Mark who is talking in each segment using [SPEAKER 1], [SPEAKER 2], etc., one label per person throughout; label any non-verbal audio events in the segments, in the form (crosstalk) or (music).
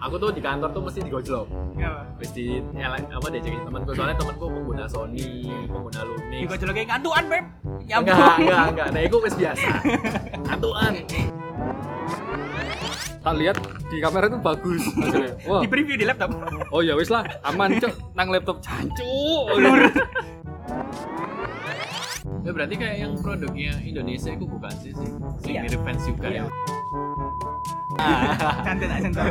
[SPEAKER 1] aku tuh di kantor tuh mesti digojlok
[SPEAKER 2] Kenapa?
[SPEAKER 1] Terus di nyalain apa diajakin temanku soalnya temanku pengguna Sony, pengguna Lumix.
[SPEAKER 2] Juga jeloknya ngantuan, Beb. Ya Nyambung.
[SPEAKER 1] Enggak, enggak, enggak. Nah, itu wis biasa. Atuan.
[SPEAKER 3] tak lihat di kamera itu bagus hasilnya. Wah,
[SPEAKER 2] Di preview di laptop.
[SPEAKER 1] iya.
[SPEAKER 3] oh ya wis lah aman cok nang laptop jancu
[SPEAKER 2] (laughs)
[SPEAKER 1] Ya berarti kayak yang produknya Indonesia itu bukan sih sih. Sing
[SPEAKER 2] Iya.
[SPEAKER 1] mirip fans juga ya.
[SPEAKER 2] Ah. Cantik tak sentuh.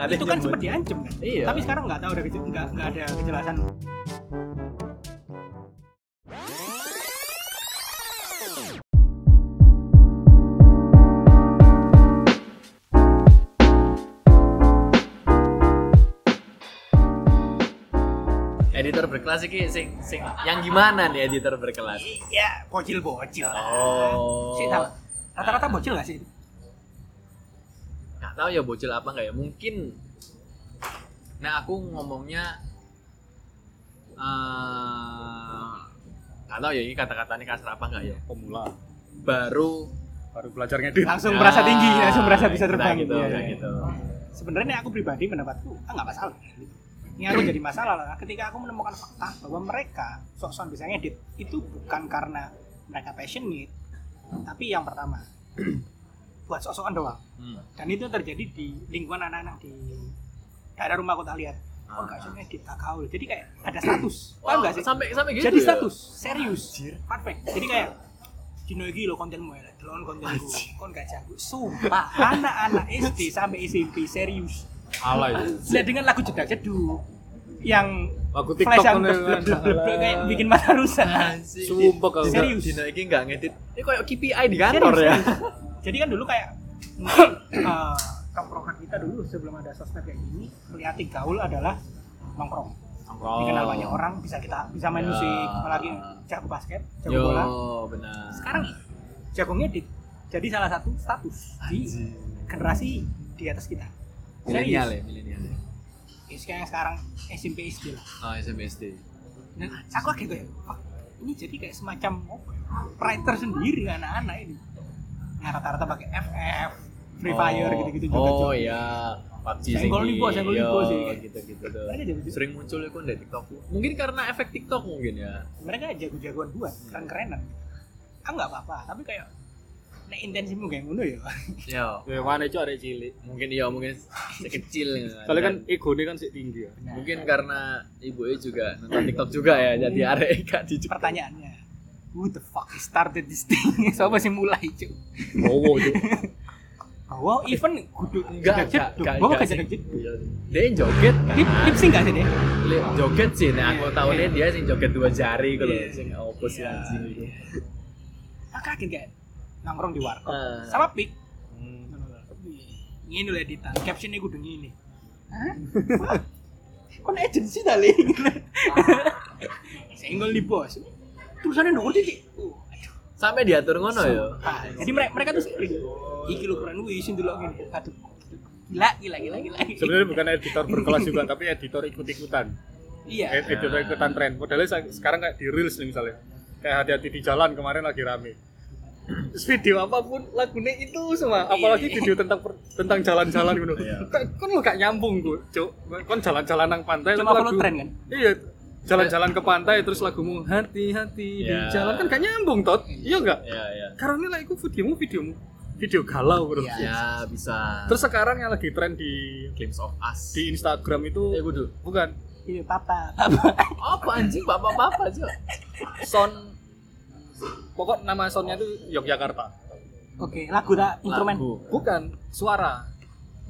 [SPEAKER 1] Ada
[SPEAKER 2] Itu kan
[SPEAKER 1] yang
[SPEAKER 2] sempat
[SPEAKER 1] buat-
[SPEAKER 2] diancam kan.
[SPEAKER 1] Iya.
[SPEAKER 2] Tapi sekarang nggak tahu udah kejel- nggak nggak ada kejelasan.
[SPEAKER 1] editor berkelas iki sing sing yang gimana nih editor berkelas?
[SPEAKER 2] Iya, bocil-bocil. lah.
[SPEAKER 1] Oh.
[SPEAKER 2] Sih, tahu. Rata-rata bocil nggak sih?
[SPEAKER 1] nggak tahu ya bocil apa nggak ya mungkin nah aku ngomongnya eh, nggak tahu ya ini kata-katanya kasar apa nggak ya
[SPEAKER 3] pemula
[SPEAKER 1] baru
[SPEAKER 3] baru belajar ngedit
[SPEAKER 2] Langsung merasa tinggi,
[SPEAKER 1] Ah,
[SPEAKER 2] langsung merasa bisa
[SPEAKER 1] nah
[SPEAKER 2] terbang.
[SPEAKER 1] gitu,
[SPEAKER 2] Iya,
[SPEAKER 1] nah
[SPEAKER 2] iya.
[SPEAKER 1] gitu.
[SPEAKER 2] sebenarnya aku pribadi pendapatku ah nggak masalah ini aku jadi masalah lah ketika aku menemukan fakta bahwa mereka sok-sok bisa ngedit itu bukan karena mereka passionate tapi yang pertama (clears throat) buat sok-sokan doang
[SPEAKER 1] Hmm.
[SPEAKER 2] dan itu terjadi di lingkungan anak-anak di daerah rumah kota lihat oh nggak bisa ngedit gak gaul jadi kayak ada status
[SPEAKER 1] Wah,
[SPEAKER 2] paham nggak sih
[SPEAKER 1] sampai sampai gitu
[SPEAKER 2] jadi
[SPEAKER 1] ya?
[SPEAKER 2] status serius perfect jadi kayak Dino iki lo kontenmu ya, delon kontenku, kon gak jago. Sumpah, (laughs) anak-anak SD sampai SMP serius.
[SPEAKER 3] alay
[SPEAKER 2] Lihat dengan lagu jedak jeduk yang
[SPEAKER 3] aku tiktok
[SPEAKER 2] flash yang
[SPEAKER 3] kan
[SPEAKER 2] blub, blub, blub, blub, (laughs) kayak bikin mata rusak.
[SPEAKER 1] Nah, Anjing.
[SPEAKER 3] Sumpah kalau
[SPEAKER 1] Dino-
[SPEAKER 2] serius.
[SPEAKER 1] Dino ini nggak ngedit ini kayak KPI di kantor ya
[SPEAKER 2] Jadi kan dulu kayak mungkin
[SPEAKER 1] (coughs)
[SPEAKER 2] eh, tongkrongan kita dulu sebelum ada sosmed kayak gini, melihat gaul adalah nongkrong. Dikenal banyak orang, bisa kita bisa main
[SPEAKER 1] Oh. Ya.
[SPEAKER 2] musik, apalagi jago basket, jago
[SPEAKER 1] yo
[SPEAKER 2] bola.
[SPEAKER 1] benar
[SPEAKER 2] Sekarang jago ngedit jadi salah satu status di
[SPEAKER 1] Anjing.
[SPEAKER 2] generasi di atas kita.
[SPEAKER 1] milenial
[SPEAKER 2] Serius.
[SPEAKER 1] ya milenial ya
[SPEAKER 2] Ya, sekarang sekarang SMP SD lah.
[SPEAKER 1] oh SMSD
[SPEAKER 2] Dan aku kaget ya, Pak, ini jadi kayak semacam apa ya, writer sendiri anak-anak ini. Nah, rata-rata pakai FF, Free Fire
[SPEAKER 1] Oh.
[SPEAKER 2] gitu-gitu juga.
[SPEAKER 1] oh
[SPEAKER 2] cuy.
[SPEAKER 1] iya PUBG
[SPEAKER 2] Senggol nih, Bos, senggol nih, Bos, ya. ini.
[SPEAKER 1] gitu-gitu tuh
[SPEAKER 2] Mereka jago
[SPEAKER 1] sering muncul ya kok di TikTok mungkin karena efek TikTok mungkin ya
[SPEAKER 2] mereka jago-jagoan buat, keren-kerenan. Aku nggak apa-apa, tapi kayak nek intensimu kayak ngono ya.
[SPEAKER 1] ya
[SPEAKER 3] ya mana cok ada cilik
[SPEAKER 1] mungkin iya mungkin sekecil
[SPEAKER 3] soalnya kan
[SPEAKER 1] Dan
[SPEAKER 3] ego ini kan sih tinggi ya
[SPEAKER 1] mungkin karena ibunya juga nonton TikTok juga ya jadi arek (laughs) gak di
[SPEAKER 2] pertanyaannya, who the fuck started this thing? (laughs) Siapa sih mulai, cuy?
[SPEAKER 3] wow cok
[SPEAKER 2] Wow, even kudu
[SPEAKER 1] enggak enggak enggak
[SPEAKER 2] Bawa
[SPEAKER 1] enggak
[SPEAKER 2] ke jeduk
[SPEAKER 1] sih. Iya. dia yang joget kan
[SPEAKER 2] Lip, lip sih nggak sih deh?
[SPEAKER 1] Li- joget sih nah aku
[SPEAKER 2] Iya.
[SPEAKER 1] tahunya dia sih joget dua jari kalau
[SPEAKER 2] Iya.
[SPEAKER 1] sing opo sih
[SPEAKER 2] Iya.
[SPEAKER 1] anjing gitu. itu
[SPEAKER 2] Aku kaget kayak nongkrong di warkop
[SPEAKER 1] Ah.
[SPEAKER 2] sama pik
[SPEAKER 1] Hmm.
[SPEAKER 2] ngene lho editan captionnya kudu ngene hah Wah, kon agensi ta le senggol di bos tulisannya nongol titik Uh, aduh.
[SPEAKER 1] sampai diatur ngono ya
[SPEAKER 2] Ah, jadi mereka mereka tuh sering iki lho keren wis sing delok ngene aduh gila gila gila gila
[SPEAKER 3] sebenarnya bukan editor berkelas juga tapi editor ikut-ikutan
[SPEAKER 2] iya
[SPEAKER 3] Ed- editor ikutan tren modelnya sa- sekarang kayak di reels nih misalnya kayak hati-hati di jalan kemarin lagi rame (clears throat) Terus video apapun lagunya itu semua apalagi video tentang per- tentang jalan-jalan gitu
[SPEAKER 1] Iya.
[SPEAKER 3] Kan- kan lu gak nyambung gue cok kan jalan-jalan nang pantai
[SPEAKER 2] cuma
[SPEAKER 3] terus
[SPEAKER 2] follow tren kan
[SPEAKER 3] iya jalan-jalan ke pantai terus lagumu hati-hati di
[SPEAKER 1] Iya.
[SPEAKER 3] jalan kan gak nyambung tot iya Iya. gak
[SPEAKER 1] ya ya
[SPEAKER 3] karena lah itu videomu videomu video galau bro
[SPEAKER 1] ya bisa
[SPEAKER 3] terus sekarang yang lagi tren di
[SPEAKER 1] Glimpse of Us.
[SPEAKER 3] di
[SPEAKER 1] eh
[SPEAKER 3] Instagram itu
[SPEAKER 1] kudu.
[SPEAKER 3] bukan
[SPEAKER 2] iya papa papa
[SPEAKER 1] Apa anjing bapak-bapak aja.
[SPEAKER 3] sound pokok nama soundnya itu Yogyakarta
[SPEAKER 2] oke lagu tak instrumen
[SPEAKER 3] bukan suara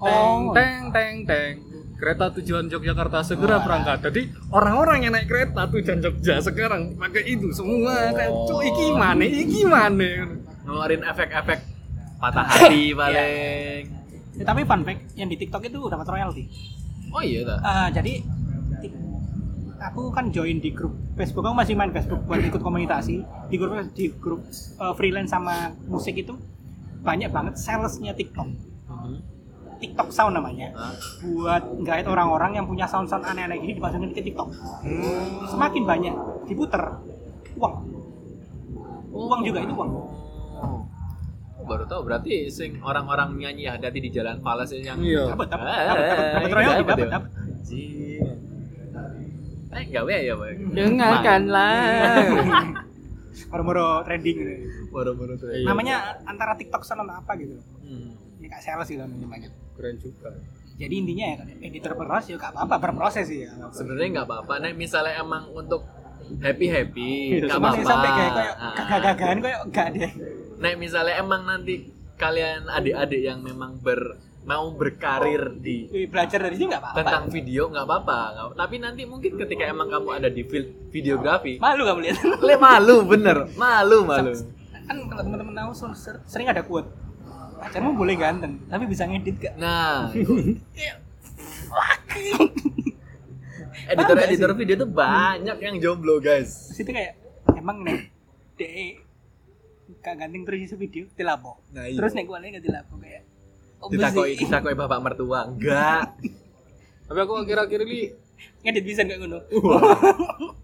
[SPEAKER 2] Oh.
[SPEAKER 3] teng teng teng teng kereta tujuan Yogyakarta segera berangkat jadi orang-orang yang naik kereta tujuan Jogja sekarang pakai itu semua kayak
[SPEAKER 1] Oh.
[SPEAKER 3] cuk iki mana iki mana
[SPEAKER 1] Ngeluarin efek-efek
[SPEAKER 2] (laughs)
[SPEAKER 1] patah
[SPEAKER 2] Iya.
[SPEAKER 1] hati paling.
[SPEAKER 2] Ya, tapi fun fact yang di TikTok itu dapat royalti
[SPEAKER 1] Oh iya dah.
[SPEAKER 2] Eh, jadi ti- aku kan join di grup Facebook aku masih main Facebook buat ikut komunikasi di grup di grup eh, freelance sama musik itu banyak banget salesnya TikTok
[SPEAKER 3] Mhm.
[SPEAKER 2] TikTok sound namanya
[SPEAKER 1] Hah?
[SPEAKER 2] buat nggak orang-orang yang punya sound sound aneh-aneh gini dipasangin ke TikTok semakin banyak diputer uang uang juga itu uang
[SPEAKER 1] Oh, baru tahu berarti sing orang-orang nyanyi hati di jalan falas yang
[SPEAKER 3] Iya.
[SPEAKER 2] Dapat, dapat,
[SPEAKER 1] Ah,
[SPEAKER 2] dapat, dapat,
[SPEAKER 1] iya,
[SPEAKER 2] dapat royalti,
[SPEAKER 1] dapat,
[SPEAKER 2] dapat,
[SPEAKER 1] ya.
[SPEAKER 2] dapat.
[SPEAKER 1] Anjing. Eh, gawe ya, Pak.
[SPEAKER 3] Eh.
[SPEAKER 4] Dengarkanlah.
[SPEAKER 2] (laughs) Moro-moro trending gitu.
[SPEAKER 1] Baru-baru tuh.
[SPEAKER 3] Iya.
[SPEAKER 2] Namanya antara TikTok sama apa gitu. loh.
[SPEAKER 1] Hmm.
[SPEAKER 2] Ya kayak sales gitu namanya.
[SPEAKER 3] keren juga
[SPEAKER 2] Jadi intinya ya editor berproses ya gak apa-apa, berproses sih ya.
[SPEAKER 1] Sebenarnya nggak apa-apa. Nek misalnya emang untuk happy happy,
[SPEAKER 3] Iya,
[SPEAKER 1] nggak
[SPEAKER 2] Cuma sih
[SPEAKER 1] apa-apa.
[SPEAKER 2] sampai kayak kayak
[SPEAKER 1] Ah.
[SPEAKER 2] gagah-gagahan kayak gak deh.
[SPEAKER 1] Nek misalnya emang nanti kalian adik-adik yang memang ber mau berkarir di
[SPEAKER 2] Wih, Belajar dari sini gak apa-apa.
[SPEAKER 1] tentang video nggak apa-apa Nggak- tapi nanti mungkin ketika emang kamu ada di field videografi
[SPEAKER 2] Malu kamu lihat. (laughs)
[SPEAKER 1] le malu bener malu malu
[SPEAKER 2] kan kalau teman-teman tahu ser- ser- sering ada quote pacarmu boleh ganteng tapi bisa ngedit gak
[SPEAKER 1] nah
[SPEAKER 2] (laughs)
[SPEAKER 1] editor editor video tuh banyak yang jomblo guys
[SPEAKER 2] terus itu kayak emang nih de gak ganteng terus isi video dilapo
[SPEAKER 1] nah iya.
[SPEAKER 2] terus nih gue gak dilapo kayak obes
[SPEAKER 1] ditakoi
[SPEAKER 2] sih.
[SPEAKER 1] ditakoi bapak mertua enggak
[SPEAKER 3] tapi aku akhir-akhir ini
[SPEAKER 2] (laughs) ngedit bisa gak ngono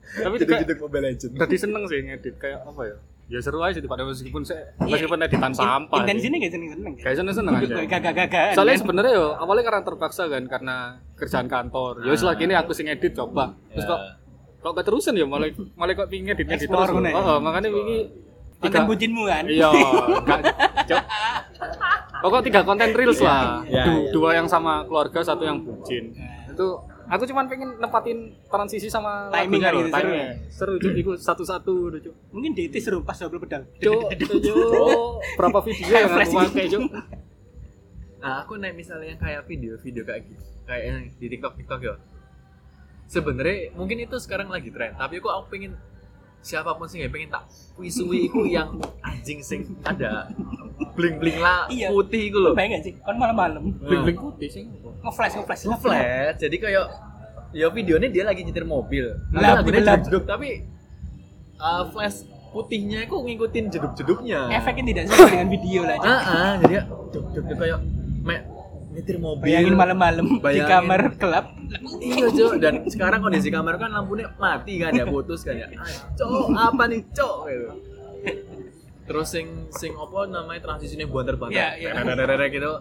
[SPEAKER 3] tapi
[SPEAKER 1] gitu
[SPEAKER 3] juga
[SPEAKER 1] gitu mobile legend
[SPEAKER 3] tadi seneng sih ngedit kayak apa ya ya seru aja sih daripada meskipun saya meskipun editan sampah sih.
[SPEAKER 2] Iya. intensinya kayak gitu. Iya, seneng seneng
[SPEAKER 3] kayak seneng seneng aja
[SPEAKER 2] gak gak gak
[SPEAKER 3] soalnya sebenarnya yo awalnya karena terpaksa kan karena kerjaan kantor ya
[SPEAKER 2] Ah.
[SPEAKER 3] setelah ini aku sih ngedit coba terus kok kok keterusan ya malah malah kok pingin edit ngedit
[SPEAKER 2] Explore
[SPEAKER 3] terus oh,
[SPEAKER 2] kan Iya. ya?
[SPEAKER 3] oh, makanya ini
[SPEAKER 2] konten bucinmu kan
[SPEAKER 3] iya nggak cok pokok tiga konten reels lah
[SPEAKER 1] Iya,
[SPEAKER 3] Du-
[SPEAKER 1] iya.
[SPEAKER 3] dua yang sama keluarga satu yang bucin
[SPEAKER 2] Nah,
[SPEAKER 3] itu aku cuman pengen nempatin transisi sama
[SPEAKER 2] Timing kan
[SPEAKER 3] lagunya
[SPEAKER 2] gitu,
[SPEAKER 3] loh,
[SPEAKER 2] seru
[SPEAKER 3] timingnya. seru cuy itu satu satu udah cuy
[SPEAKER 2] mungkin DT seru pas double pedal
[SPEAKER 3] Cuk, cuk, Oh, berapa video yang aku
[SPEAKER 2] Flash gitu.
[SPEAKER 3] pakai, Cuk?
[SPEAKER 1] Nah, aku naik misalnya yang kayak video-video kayak gitu, kayak yang di TikTok TikTok ya. Sebenarnya mungkin itu sekarang lagi tren, tapi aku aku pengen siapapun sih yang pengen tak wisui iku yang anjing sing ada bling bling lah
[SPEAKER 2] Iya.
[SPEAKER 1] putih iku
[SPEAKER 2] lo
[SPEAKER 1] loh.
[SPEAKER 2] bayang gak sih kan malam malam
[SPEAKER 3] Bling-bling putih sih.
[SPEAKER 2] ngeflash ngeflash
[SPEAKER 1] Ngeflash, jadi kayak ya videonya dia lagi nyetir mobil.
[SPEAKER 2] Gelap,
[SPEAKER 1] Nah, lagunya
[SPEAKER 2] gelap.
[SPEAKER 1] jeduk tapi uh, flash putihnya aku ngikutin jeduk-jeduknya.
[SPEAKER 2] efeknya tidak sesuai dengan video lah
[SPEAKER 1] Ah, ah, jadi jeduk-jeduk kayak mek nyetir mobil.
[SPEAKER 2] bayangin malam-malam di
[SPEAKER 1] iya. Bayangin.
[SPEAKER 2] kamar gelap
[SPEAKER 1] Iya cok, dan sekarang kondisi kamar kan lampunya mati kan ya, putus kan ya. Ah, Cok, apa nih cok gitu. Terus sing sing apa namanya transisinya banter-banter.
[SPEAKER 2] Iya, iya.
[SPEAKER 1] Dadadadada gitu.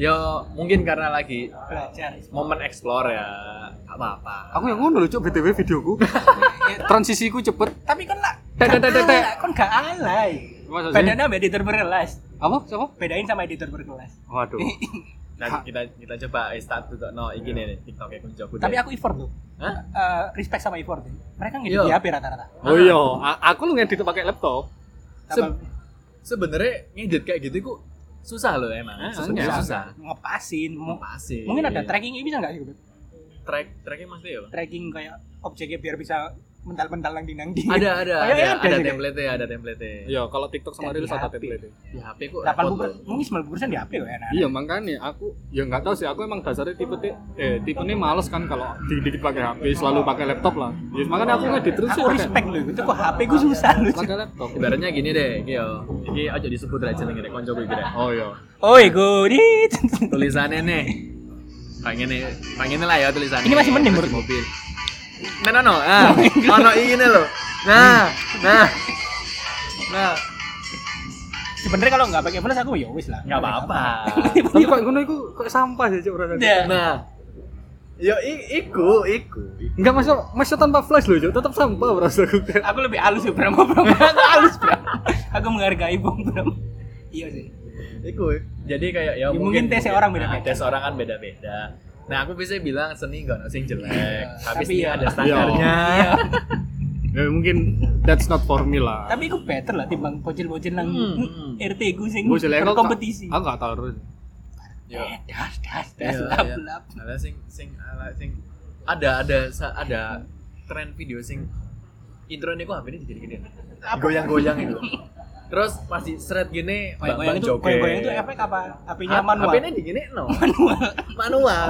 [SPEAKER 1] Ya mungkin karena lagi
[SPEAKER 2] belajar
[SPEAKER 1] momen explore ya, nggak apa-apa.
[SPEAKER 3] Aku yang ngono loh, Cuk, BTW videoku. Transisiku cepet.
[SPEAKER 2] Ya, tapi kan
[SPEAKER 1] (laughs)
[SPEAKER 2] lah
[SPEAKER 3] Tek, tek, tek, tek, tek.
[SPEAKER 2] kan gak alay
[SPEAKER 3] Masa sih?
[SPEAKER 2] bedanya sama editor berkelas
[SPEAKER 3] Apa? Siapa?
[SPEAKER 2] bedain sama editor berkelas
[SPEAKER 3] Waduh.
[SPEAKER 1] Nah, kita kita coba start tuh no iki nih e TikToknya kunci aku.
[SPEAKER 2] tapi aku effort loh
[SPEAKER 1] Hah?
[SPEAKER 2] Eh, respect sama effort ya. mereka ngedit
[SPEAKER 1] Iya.
[SPEAKER 2] di HP rata-rata
[SPEAKER 3] (laughs) Oh iya,
[SPEAKER 2] Ah.
[SPEAKER 3] a- aku lu ngedit pakai laptop.
[SPEAKER 1] Se-
[SPEAKER 2] Apa-
[SPEAKER 1] sebenarnya ngedit kayak gitu ku susah loh emang.
[SPEAKER 3] Ah,
[SPEAKER 1] Susah.
[SPEAKER 3] iya.
[SPEAKER 1] susah.
[SPEAKER 2] ngepasin Mu-
[SPEAKER 1] Pasti.
[SPEAKER 2] mungkin ada trackingnya bisa nggak sih Beb?
[SPEAKER 1] track tracknya maksudnya ya? Pak?
[SPEAKER 2] tracking kayak objeknya biar bisa mental-mental nang dinang di
[SPEAKER 1] Ada ada
[SPEAKER 2] Ayo,
[SPEAKER 1] ada
[SPEAKER 2] ya,
[SPEAKER 1] ada
[SPEAKER 2] ada sih, Kak.
[SPEAKER 1] template-nya, ada template-nya.
[SPEAKER 3] Iya, kalau TikTok sama
[SPEAKER 2] Dan di
[SPEAKER 3] Reels ada
[SPEAKER 2] HP.
[SPEAKER 3] template.
[SPEAKER 1] di HP kok
[SPEAKER 2] (laughs) delapan
[SPEAKER 1] repot loh.
[SPEAKER 2] mungkin sembilan persen di HP loh ya
[SPEAKER 3] Iya, makanya aku ya nggak tahu sih, aku emang dasarnya tipe ti- eh tipe ini males kan kalau dikit-dikit pakai HP, selalu pakai laptop lah. Ya, makanya aku ngedit terus
[SPEAKER 2] aku
[SPEAKER 3] pakai-
[SPEAKER 2] respect loh itu kok HP gue susah loh
[SPEAKER 3] pakai laptop.
[SPEAKER 1] Ibaratnya gini deh, iki yo. Iki aja disebut aja jenenge rek konco iki deh.
[SPEAKER 3] Oh
[SPEAKER 2] (laughs)
[SPEAKER 3] iya.
[SPEAKER 2] oi gue
[SPEAKER 1] Tulisannya nih. Pengen nih, pengen lah ya tulisannya.
[SPEAKER 2] Ini masih mending, Oh
[SPEAKER 1] Terus mobil. Nah, nah, nah,
[SPEAKER 2] (laughs)
[SPEAKER 1] ah, ono ini loh. Nah, nah, nah,
[SPEAKER 2] sebenarnya kalau nggak pakai belas aku ya wis lah
[SPEAKER 1] nggak apa-apa.
[SPEAKER 3] Tapi kok ngono iku kok sampah sih, Cuk, rasanya.
[SPEAKER 2] (laughs) Ya.
[SPEAKER 1] Nah, yo i- iku, iku.
[SPEAKER 3] Enggak masuk masuk tanpa flash loh, Cuk. Tetap sampah berasa aku.
[SPEAKER 2] aku lebih halus ya Bram Bram aku halus Bram aku menghargai Bung Bram iya sih
[SPEAKER 1] Iku. Jadi kayak ya
[SPEAKER 2] Ya, mungkin tesnya orang beda-beda.
[SPEAKER 1] Nah, tes orang kan beda-beda. Nah, aku bisa bilang seni gak ono sing jelek,
[SPEAKER 2] Iya,
[SPEAKER 1] tapi
[SPEAKER 2] tapi
[SPEAKER 1] seni
[SPEAKER 2] ya.
[SPEAKER 1] ada standarnya.
[SPEAKER 2] iya
[SPEAKER 3] Ya mungkin that's not for me lah.
[SPEAKER 2] tapi aku better lah timbang bocil-bocil nang
[SPEAKER 1] Hmm, hmm.
[SPEAKER 2] RT gue sing
[SPEAKER 3] Gua jelek, aku nggak-
[SPEAKER 2] berkompetisi
[SPEAKER 3] Aku nggak tahu terus.
[SPEAKER 1] Yo.
[SPEAKER 2] Eh, das das das
[SPEAKER 1] Iya,
[SPEAKER 2] lap
[SPEAKER 1] iya.
[SPEAKER 2] lap
[SPEAKER 1] Ada sing sing ala sing ada ada sa- ada tren video sing intro niku HP ini gini-gini. Goyang-goyang itu. Terus masih seret gini
[SPEAKER 2] goyang
[SPEAKER 1] bang-bang
[SPEAKER 2] itu
[SPEAKER 1] joget.
[SPEAKER 2] goyang itu efek apa HP-nya manual
[SPEAKER 1] HP-nya digini no. Manual. Manual.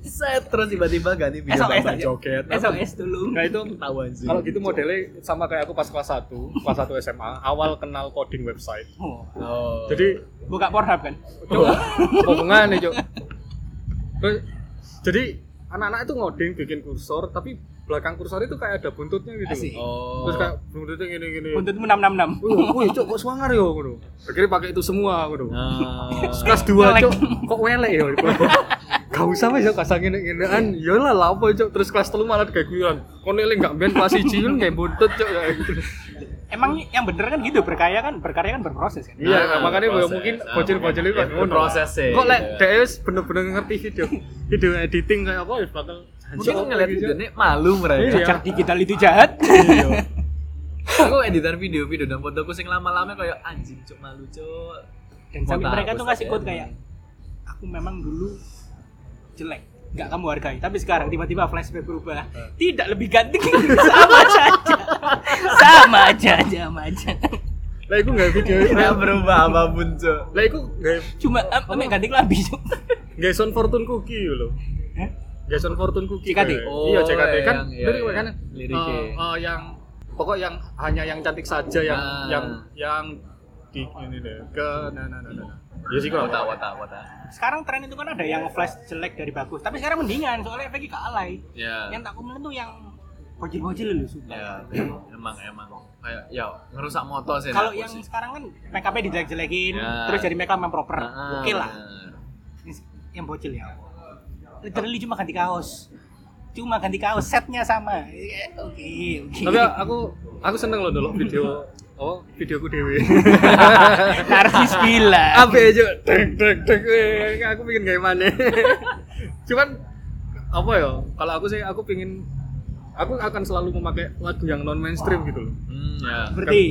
[SPEAKER 1] Set terus tiba-tiba ganti video
[SPEAKER 2] SOS
[SPEAKER 1] bang-bang
[SPEAKER 2] aja.
[SPEAKER 1] joget.
[SPEAKER 2] SOS dulu
[SPEAKER 3] Nah itu
[SPEAKER 1] Ketahuan sih.
[SPEAKER 3] kalau gitu modelnya sama kayak aku pas kelas 1, kelas 1 SMA, awal kenal coding website.
[SPEAKER 2] Oh,
[SPEAKER 1] Oh.
[SPEAKER 3] Jadi
[SPEAKER 2] buka Pornhub kan
[SPEAKER 3] Cuk, apa hubungannya, Cuk? Terus jadi anak-anak itu ngoding bikin kursor tapi belakang kursor itu kayak ada buntutnya gitu.
[SPEAKER 2] Asik.
[SPEAKER 3] loh.
[SPEAKER 1] Oh.
[SPEAKER 3] Terus kayak buntutnya gini-gini.
[SPEAKER 2] Buntutmu 666.
[SPEAKER 1] Uh.
[SPEAKER 3] Wih, wih, cok kok suangar yo ngono. Akhirnya pakai itu semua ngono.
[SPEAKER 1] Nah,
[SPEAKER 3] Kelas 2
[SPEAKER 2] Welek.
[SPEAKER 3] cok kok welek yo. (laughs) Gak usah wes yo kasang ngene-ngenean. Ya lah lapo cok terus kelas 3 malah kayak guyon. Kon eling gak ben kelas 1 yo nggak buntut
[SPEAKER 1] (laughs)
[SPEAKER 3] cok.
[SPEAKER 2] Emang yang bener kan gitu berkarya kan berkarya kan berproses kan.
[SPEAKER 3] Iya,
[SPEAKER 1] Nah,
[SPEAKER 3] makanya gue
[SPEAKER 1] proses.
[SPEAKER 3] mungkin
[SPEAKER 1] Nah,
[SPEAKER 3] bocil-bocil itu
[SPEAKER 1] mungkin
[SPEAKER 3] kan
[SPEAKER 1] itu
[SPEAKER 3] ngono.
[SPEAKER 1] prosesnya,
[SPEAKER 3] Kok
[SPEAKER 1] gitu
[SPEAKER 3] lek
[SPEAKER 1] ya.
[SPEAKER 3] dhewe wis bener-bener ngerti video video editing kayak apa ya bakal
[SPEAKER 1] mungkin
[SPEAKER 3] Cok,
[SPEAKER 1] ngeliat
[SPEAKER 3] gitu, Cok.
[SPEAKER 1] videonya malu mereka.
[SPEAKER 3] Iya.
[SPEAKER 2] Jejak digital itu jahat.
[SPEAKER 1] Aku editan video-video dan fotoku sing lama-lama kayak anjing cok malu cok.
[SPEAKER 2] Dan sampai
[SPEAKER 1] Mau
[SPEAKER 2] mereka
[SPEAKER 1] tak
[SPEAKER 2] tuh
[SPEAKER 1] hapus
[SPEAKER 2] ngasih quote
[SPEAKER 1] aja.
[SPEAKER 2] kayak aku memang dulu jelek, nggak kamu hargai. Tapi sekarang tiba-tiba flashback berubah, tidak lebih ganteng, (laughs) sama saja, sama aja, sama aja.
[SPEAKER 3] Lah iku nggak
[SPEAKER 1] (laughs)
[SPEAKER 3] video.
[SPEAKER 1] Tidak berubah apapun cok.
[SPEAKER 3] Lah iku nggak
[SPEAKER 2] Cuma em- emek ganteng lebih.
[SPEAKER 3] nggak Son Fortune Cookie lho.
[SPEAKER 2] Hah?
[SPEAKER 3] Jason Fortune Cookie
[SPEAKER 2] CKT?
[SPEAKER 3] kayak.
[SPEAKER 1] Eh? Oh,
[SPEAKER 3] iya CKT kan
[SPEAKER 1] yang- iya,
[SPEAKER 3] lirik
[SPEAKER 1] iya.
[SPEAKER 3] kan
[SPEAKER 1] Liriknya.
[SPEAKER 3] eh, eh, yang pokok yang hanya yang cantik saja yang
[SPEAKER 1] Ah.
[SPEAKER 3] yang yang di ini deh ke nah nah nah nah
[SPEAKER 1] Iya
[SPEAKER 3] ya sih kurang
[SPEAKER 1] Wata
[SPEAKER 3] tahu
[SPEAKER 1] wata wata.
[SPEAKER 2] Sekarang tren itu kan ada yang flash jelek dari bagus, tapi sekarang mendingan soalnya efeknya kealai.
[SPEAKER 1] Ya.
[SPEAKER 2] Yang tak komen tuh yang bocil-bocil dulu
[SPEAKER 1] Ya,
[SPEAKER 2] suka.
[SPEAKER 1] emang emang kayak ya ngerusak motor sih.
[SPEAKER 2] Kalau
[SPEAKER 1] aku
[SPEAKER 2] yang
[SPEAKER 1] sih.
[SPEAKER 2] sekarang kan make up-nya dijelek-jelekin,
[SPEAKER 1] Ya.
[SPEAKER 2] terus jadi make up yang proper.
[SPEAKER 1] Ah,
[SPEAKER 2] Oke lah.
[SPEAKER 1] bener.
[SPEAKER 2] yang bocil ya literally cuma ganti kaos cuma ganti kaos setnya sama Eh, oke oke (laughs)
[SPEAKER 3] tapi eh, aku aku seneng loh dulu
[SPEAKER 1] (laughs)
[SPEAKER 3] video oh videoku dewe
[SPEAKER 2] narsis gila
[SPEAKER 3] apa
[SPEAKER 1] ya,
[SPEAKER 3] aja deg deg deg eh, aku pengen kayak mana (laughs) cuman apa ya kalau aku sih aku pengen aku akan selalu memakai lagu yang non mainstream gitu loh
[SPEAKER 1] Hmm, ya.
[SPEAKER 2] berarti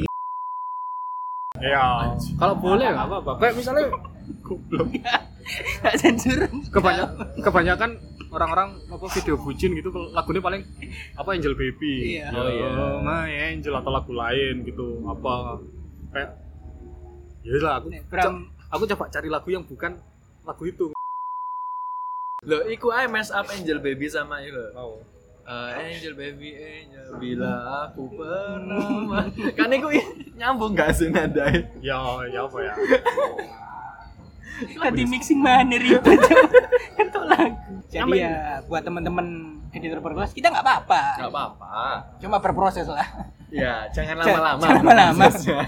[SPEAKER 3] Iya. Kalau boleh nggak apa-apa. Kayak misalnya goblok.
[SPEAKER 2] nggak (laughs) sensor
[SPEAKER 3] Kebanyak, kebanyakan orang-orang apa video bucin gitu lagunya paling apa Angel Baby.
[SPEAKER 2] Iya.
[SPEAKER 1] Oh, iya.
[SPEAKER 3] Oh, My Angel atau lagu lain gitu apa kayak ya lah aku
[SPEAKER 2] Nek, Bram.
[SPEAKER 3] co- aku coba cari lagu yang bukan lagu itu.
[SPEAKER 1] Loh, iku ae mess up Angel Baby sama itu.
[SPEAKER 3] Oh.
[SPEAKER 1] Eh, Angel Baby Angel bila aku
[SPEAKER 2] (laughs)
[SPEAKER 1] pernah ma- kan iku i- nyambung gak sih nadai
[SPEAKER 3] Ya, ya apa ya?
[SPEAKER 2] ganti kan mixing mana ribet (laughs) itu lagu jadi ya buat teman-teman editor berkelas kita nggak apa-apa
[SPEAKER 1] Gak apa-apa
[SPEAKER 2] cuma berproses lah
[SPEAKER 1] Ya, jangan
[SPEAKER 2] Jangan-
[SPEAKER 1] lama-lama
[SPEAKER 2] jangan lama-lama.
[SPEAKER 1] prosesnya.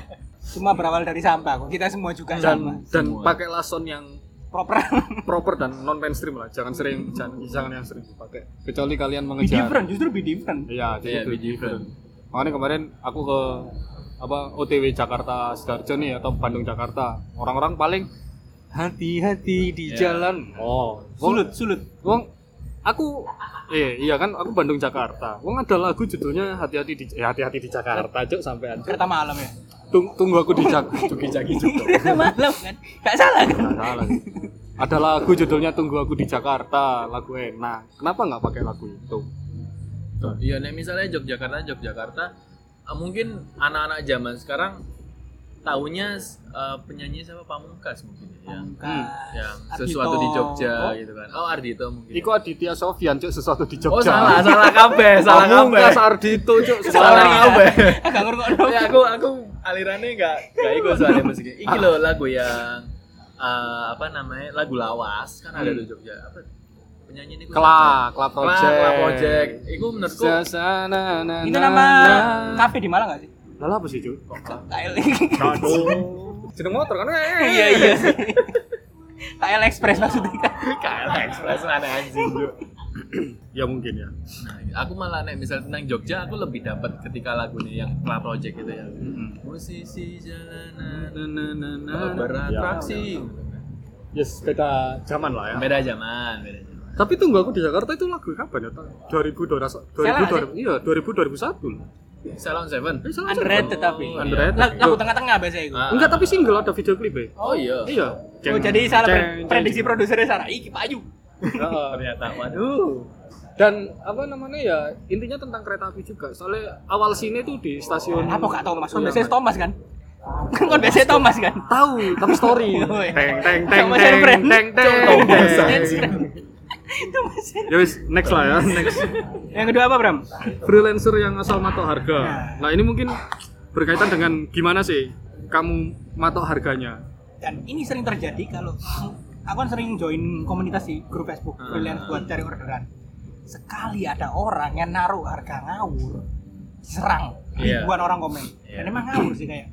[SPEAKER 2] cuma berawal dari sampah kok kita semua juga sama
[SPEAKER 3] Dan dan
[SPEAKER 1] Semua.
[SPEAKER 3] pakai lason yang (laughs)
[SPEAKER 2] proper
[SPEAKER 3] proper dan non mainstream lah. Jangan sering jangan, jangan yang sering dipakai. Kecuali kalian
[SPEAKER 2] be
[SPEAKER 3] mengejar.
[SPEAKER 2] different justru be different
[SPEAKER 1] Iya,
[SPEAKER 3] Iya, jadi itu
[SPEAKER 1] be different.
[SPEAKER 3] Makanya kemarin aku ke apa OTW Jakarta Sidoarjo nih atau Bandung Jakarta. Orang-orang paling hati-hati di
[SPEAKER 1] Iya.
[SPEAKER 3] jalan. Oh, wong,
[SPEAKER 2] sulut sulut
[SPEAKER 3] wong aku eh iya kan aku Bandung Jakarta. Wong ada lagu judulnya hati-hati di eh, hati-hati di Jakarta, Cuk, sampean. Cuk.
[SPEAKER 2] kereta malam ya
[SPEAKER 3] Tung- tunggu aku di
[SPEAKER 1] (laughs)
[SPEAKER 3] Jakarta.
[SPEAKER 1] Jogi-jogi juga
[SPEAKER 2] (laughs) kereta malam kan nggak salah kan
[SPEAKER 3] salah. Ada lagu judulnya Tunggu Aku di Jakarta, lagu enak. Kenapa nggak pakai lagu itu?
[SPEAKER 1] Tuh, Iya, nek misalnya Yogyakarta, Yogyakarta eh, mungkin anak-anak zaman sekarang taunya eh, penyanyi siapa Pamungkas mungkin
[SPEAKER 3] Iya.
[SPEAKER 1] ya. Yang,
[SPEAKER 2] Hmm.
[SPEAKER 1] yang sesuatu di Jogja gitu kan. Oh, Ardito mungkin.
[SPEAKER 3] Iku Aditya Sofyan, Cuk, sesuatu di Jogja.
[SPEAKER 1] oh, salah, salah kabeh, salah kabeh.
[SPEAKER 3] Pamungkas Ardito cuk
[SPEAKER 1] Salah
[SPEAKER 3] sembarang.
[SPEAKER 1] kabeh.
[SPEAKER 2] Agak eh, ngerokok dong.
[SPEAKER 3] (laughs)
[SPEAKER 1] Ya aku aku alirannya enggak enggak ikut soalnya musiknya. Iki loh lagu yang eh, apa namanya? Lagu lawas kan ada di Jogja. Apa penyanyi ini?
[SPEAKER 3] Kla, Kla
[SPEAKER 1] Kla,
[SPEAKER 3] Project.
[SPEAKER 1] Kla Project. Iku menurutku
[SPEAKER 3] Sesana, na,
[SPEAKER 2] Itu
[SPEAKER 3] na,
[SPEAKER 2] nama Oh,
[SPEAKER 3] na.
[SPEAKER 2] kafe di Malang gak sih?
[SPEAKER 3] Lah Nah, apa sih, Cuk?
[SPEAKER 2] (laughs) KL.
[SPEAKER 3] Jeneng motor kan.
[SPEAKER 2] Iya
[SPEAKER 1] (laughs)
[SPEAKER 2] iya sih. KL Express
[SPEAKER 3] (laughs)
[SPEAKER 2] maksudnya kan.
[SPEAKER 1] KL Express mana anjing Cuk.
[SPEAKER 3] Ya mungkin ya.
[SPEAKER 1] Nah, aku malah nek misal tentang Jogja aku lebih dapat ketika lagunya yang Kla Project gitu ya. Musisi jalanan
[SPEAKER 3] Ya.
[SPEAKER 1] beratraksi.
[SPEAKER 3] Yes, beda zaman lah ya.
[SPEAKER 1] Beda zaman, beda zaman.
[SPEAKER 3] Tapi tunggu aku di Jakarta itu lagu kapan ya? Tahun 2000
[SPEAKER 2] Salah,
[SPEAKER 3] 2000 iya 2000 2001. loh.
[SPEAKER 1] Salon Seven.
[SPEAKER 3] Eh, salah,
[SPEAKER 2] Underrated
[SPEAKER 3] salah.
[SPEAKER 2] tapi.
[SPEAKER 3] Underrated.
[SPEAKER 2] Lag- Lagu tengah-tengah biasa itu.
[SPEAKER 1] Ah.
[SPEAKER 3] Enggak, tapi single ada video klip ya.
[SPEAKER 1] Oh iya.
[SPEAKER 3] Iya.
[SPEAKER 2] Oh,
[SPEAKER 3] Ceng,
[SPEAKER 2] jadi salah
[SPEAKER 3] ceng,
[SPEAKER 2] pre-
[SPEAKER 3] ceng. Hmm.
[SPEAKER 2] prediksi produsernya Sarah. Iki Pak Ayu.
[SPEAKER 3] Heeh.
[SPEAKER 1] Ternyata waduh.
[SPEAKER 3] dan apa namanya ya intinya tentang kereta api juga soalnya awal sini tuh di stasiun
[SPEAKER 2] Apa gak tau Mas? Kan
[SPEAKER 3] Iya,
[SPEAKER 2] biasanya
[SPEAKER 3] Mas.
[SPEAKER 2] Thomas kan. (laughs) Kan biasanya Thomas kan.
[SPEAKER 3] tahu tapi story
[SPEAKER 2] (laughs) Woy.
[SPEAKER 3] teng teng teng
[SPEAKER 2] Oh, iya. Sama
[SPEAKER 3] teng
[SPEAKER 2] Shelfriend.
[SPEAKER 3] teng teng
[SPEAKER 1] Sama
[SPEAKER 3] teng
[SPEAKER 2] (laughs)
[SPEAKER 3] ya wis next lah ya next
[SPEAKER 2] Yang kedua apa, Bram?
[SPEAKER 3] freelancer yang asal matok harga
[SPEAKER 2] Iya.
[SPEAKER 3] nah ini mungkin berkaitan dengan gimana sih kamu matok harganya
[SPEAKER 2] Dan ini sering
[SPEAKER 1] Hmm.
[SPEAKER 2] terjadi kalau aku kan sering join komunitas di grup Facebook freelance buat cari orderan. sekali ada orang yang naruh harga ngawur serang
[SPEAKER 1] Iya.
[SPEAKER 2] ribuan orang komen
[SPEAKER 1] Iya.
[SPEAKER 2] dan emang ngawur sih kayak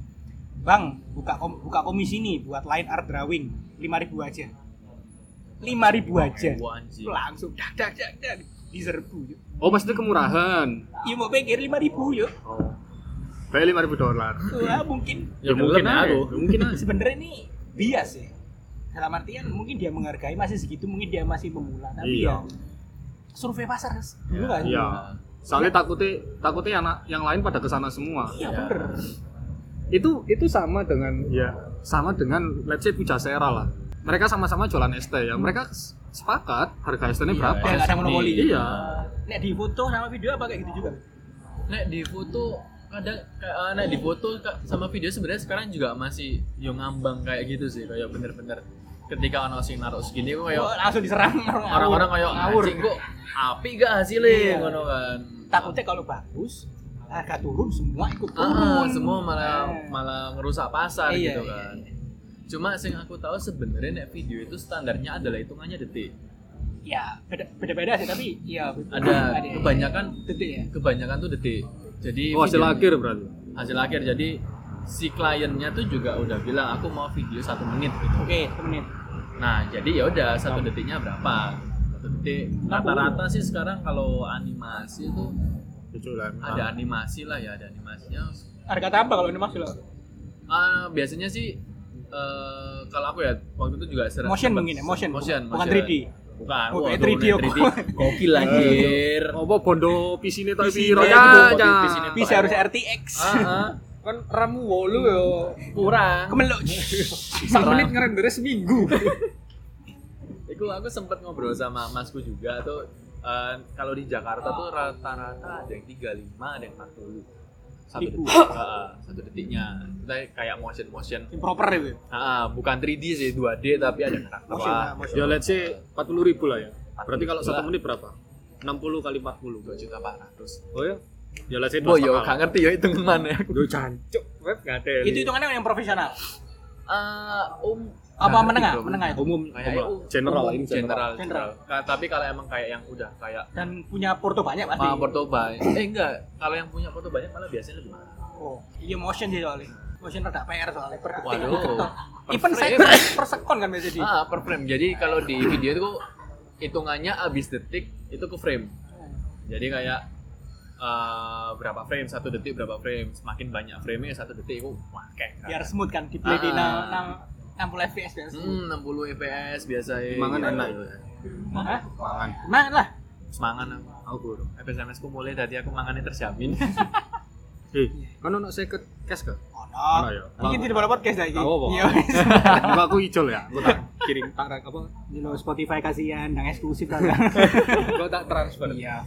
[SPEAKER 2] bang buka kom- buka komisi nih buat line art drawing 5000 aja 5000
[SPEAKER 3] Iya.
[SPEAKER 2] aja
[SPEAKER 1] Wah, anjing.
[SPEAKER 2] langsung dak dak dak dak diserbu yuk
[SPEAKER 3] Oh, pasti kemurahan.
[SPEAKER 2] ya mau pikir 5000 yuk
[SPEAKER 1] Oh.
[SPEAKER 3] Kayak lima ribu dolar.
[SPEAKER 2] Wah, mungkin
[SPEAKER 1] Ya, mungkin aku.
[SPEAKER 3] Iya.
[SPEAKER 1] Iya.
[SPEAKER 3] mungkin aja.
[SPEAKER 2] sebenarnya ini bias ya dalam artian mungkin dia menghargai masih segitu mungkin dia masih pemula tapi ya
[SPEAKER 3] Iya.
[SPEAKER 2] survei pasar dulu kan
[SPEAKER 3] Iya. Soalnya takutnya takutnya anak yang lain pada kesana semua.
[SPEAKER 2] Iya,
[SPEAKER 1] Iya.
[SPEAKER 2] bener
[SPEAKER 3] Itu itu sama dengan ya sama dengan let's say Pujasera lah. Mereka sama-sama jualan ST ya. Mereka s- sepakat harga ST-nya
[SPEAKER 1] Iya,
[SPEAKER 3] berapa.
[SPEAKER 2] dan nggak ada monopoli
[SPEAKER 3] Iya.
[SPEAKER 2] nek di foto sama video apa kayak gitu juga
[SPEAKER 1] Nek di foto kadang kayak eh, nek di foto ka- sama video sebenarnya sekarang juga masih yo ngambang kayak gitu sih kayak bener-bener ketika ono sing naruh segini kok kayak
[SPEAKER 2] Wah, Oh, langsung diserang
[SPEAKER 1] orang-orang kayak
[SPEAKER 2] ngawur
[SPEAKER 1] anjing kok api gak hasilnya
[SPEAKER 2] Iya.
[SPEAKER 1] ngono kan
[SPEAKER 2] takutnya kalau bagus harga turun semua ikut turun
[SPEAKER 1] ah, semua malah
[SPEAKER 2] Eh.
[SPEAKER 1] malah ngerusak pasar
[SPEAKER 2] Iya,
[SPEAKER 1] gitu
[SPEAKER 2] iya,
[SPEAKER 1] kan
[SPEAKER 2] iya.
[SPEAKER 1] cuma sing aku tahu sebenarnya nek video itu standarnya adalah hitungannya detik
[SPEAKER 2] ya beda beda beda sih tapi ya
[SPEAKER 1] ada kebanyakan
[SPEAKER 2] detik ya
[SPEAKER 1] kebanyakan tuh detik jadi
[SPEAKER 3] Oh, hasil
[SPEAKER 1] video-
[SPEAKER 3] akhir berarti.
[SPEAKER 1] hasil akhir jadi si kliennya tuh juga udah bilang aku mau video satu menit gitu
[SPEAKER 2] oke Nah. temenin
[SPEAKER 1] nah jadi ya udah satu detiknya berapa satu detik Nah, rata-rata sih sekarang kalau animasi tuh
[SPEAKER 3] Jualan.
[SPEAKER 1] ada animasi lah ya ada animasinya
[SPEAKER 2] harga tambah kalau ini masih loh
[SPEAKER 1] Ah, biasanya sih eh, kalau aku ya waktu itu juga sering
[SPEAKER 2] Motion mungkin ya, motion. Bukan 3D.
[SPEAKER 1] bukan
[SPEAKER 2] Oh,
[SPEAKER 1] Wah,
[SPEAKER 2] kayak
[SPEAKER 1] turun
[SPEAKER 2] 3D,
[SPEAKER 1] ya,
[SPEAKER 2] aku.
[SPEAKER 1] 3D.
[SPEAKER 2] (laughs)
[SPEAKER 1] gokil anjir
[SPEAKER 3] Apa bondo pisine tapi
[SPEAKER 2] Pisine,
[SPEAKER 3] piro
[SPEAKER 1] gitu,
[SPEAKER 3] ya?
[SPEAKER 1] bondo
[SPEAKER 3] ya.
[SPEAKER 1] pisine.
[SPEAKER 2] bisa harus RTX
[SPEAKER 1] Ah, ah.
[SPEAKER 3] Kan ramu wolu yo.
[SPEAKER 1] kurang
[SPEAKER 2] (laughs) kemeluk
[SPEAKER 3] Sak menit ngerendernya seminggu.
[SPEAKER 1] Iku aku sempat ngobrol sama masku juga tuh eh, kalau di Jakarta tuh rata-rata ada yang 35, ada yang 40. Satu
[SPEAKER 2] Ibu.
[SPEAKER 1] detik. Heeh, satu detiknya. Kita kayak motion motion.
[SPEAKER 2] yang proper itu
[SPEAKER 1] Heeh, bukan 3D sih, 2D tapi ada karakter
[SPEAKER 2] Motion,
[SPEAKER 1] lah.
[SPEAKER 2] motion.
[SPEAKER 3] Ya let's say 40 ribu lah ya. Berarti
[SPEAKER 1] 40.000
[SPEAKER 3] kalau satu
[SPEAKER 1] lah.
[SPEAKER 3] menit berapa? 60 kali 40.
[SPEAKER 1] 2 juta 400.
[SPEAKER 3] Oh ya? Ya let's say
[SPEAKER 1] Bo
[SPEAKER 3] dua
[SPEAKER 1] yo
[SPEAKER 3] setengah.
[SPEAKER 1] gak ngerti yo hitung mana aku.
[SPEAKER 3] Yo jancuk web nggak ada.
[SPEAKER 2] itu hitungannya yang profesional
[SPEAKER 1] Nah, Eh, um nggak
[SPEAKER 2] Apa
[SPEAKER 1] ngerti,
[SPEAKER 2] menengah?
[SPEAKER 1] bro.
[SPEAKER 2] Menengah ya? itu?
[SPEAKER 3] umum
[SPEAKER 1] Kayak
[SPEAKER 3] umum lah.
[SPEAKER 1] umum.
[SPEAKER 3] general lah ini
[SPEAKER 1] general.
[SPEAKER 3] general.
[SPEAKER 1] general. Nah, tapi kalau emang kayak yang udah kayak
[SPEAKER 2] dan punya porto banyak pasti
[SPEAKER 1] Ah, Porto banyak. Eh enggak, kalau yang punya Porto banyak malah biasanya lebih mahal.
[SPEAKER 2] oh iya motion sih soalnya motion rada PR soalnya per detik
[SPEAKER 1] Waduh.
[SPEAKER 2] per ketok.
[SPEAKER 1] Per
[SPEAKER 2] (laughs) even saya
[SPEAKER 1] frame.
[SPEAKER 2] per sekon kan biasanya di
[SPEAKER 1] Ah, per frame. Jadi kalau di video itu hitungannya abis detik itu ke frame. Jadi kayak eh, berapa frame satu detik berapa frame semakin banyak frame nya satu detik itu wah kayak
[SPEAKER 2] biar smooth kan di play di
[SPEAKER 1] Ah.
[SPEAKER 2] nang- nang 60 fps biar smooth
[SPEAKER 1] hmm, 60 fps biasa
[SPEAKER 3] Mangan enak.
[SPEAKER 1] ya.
[SPEAKER 2] Hah?
[SPEAKER 3] Mangan.
[SPEAKER 2] Main lah
[SPEAKER 1] semangan aku aku bro FSMS ku mulai tadi aku mangannya (laughs) terjamin
[SPEAKER 3] Eh, kan ono 50 cash gak?
[SPEAKER 2] ono
[SPEAKER 3] Ono ya.
[SPEAKER 2] ini tidak boleh podcast lagi
[SPEAKER 3] Tahu apa?
[SPEAKER 2] iya (laughs) wes.
[SPEAKER 3] Enggak aku ijol ya. Aku tak kirim tak apa?
[SPEAKER 2] Ini lo Spotify kasihan nang eksklusif kan
[SPEAKER 1] gue tak transfer
[SPEAKER 2] (laughs) iya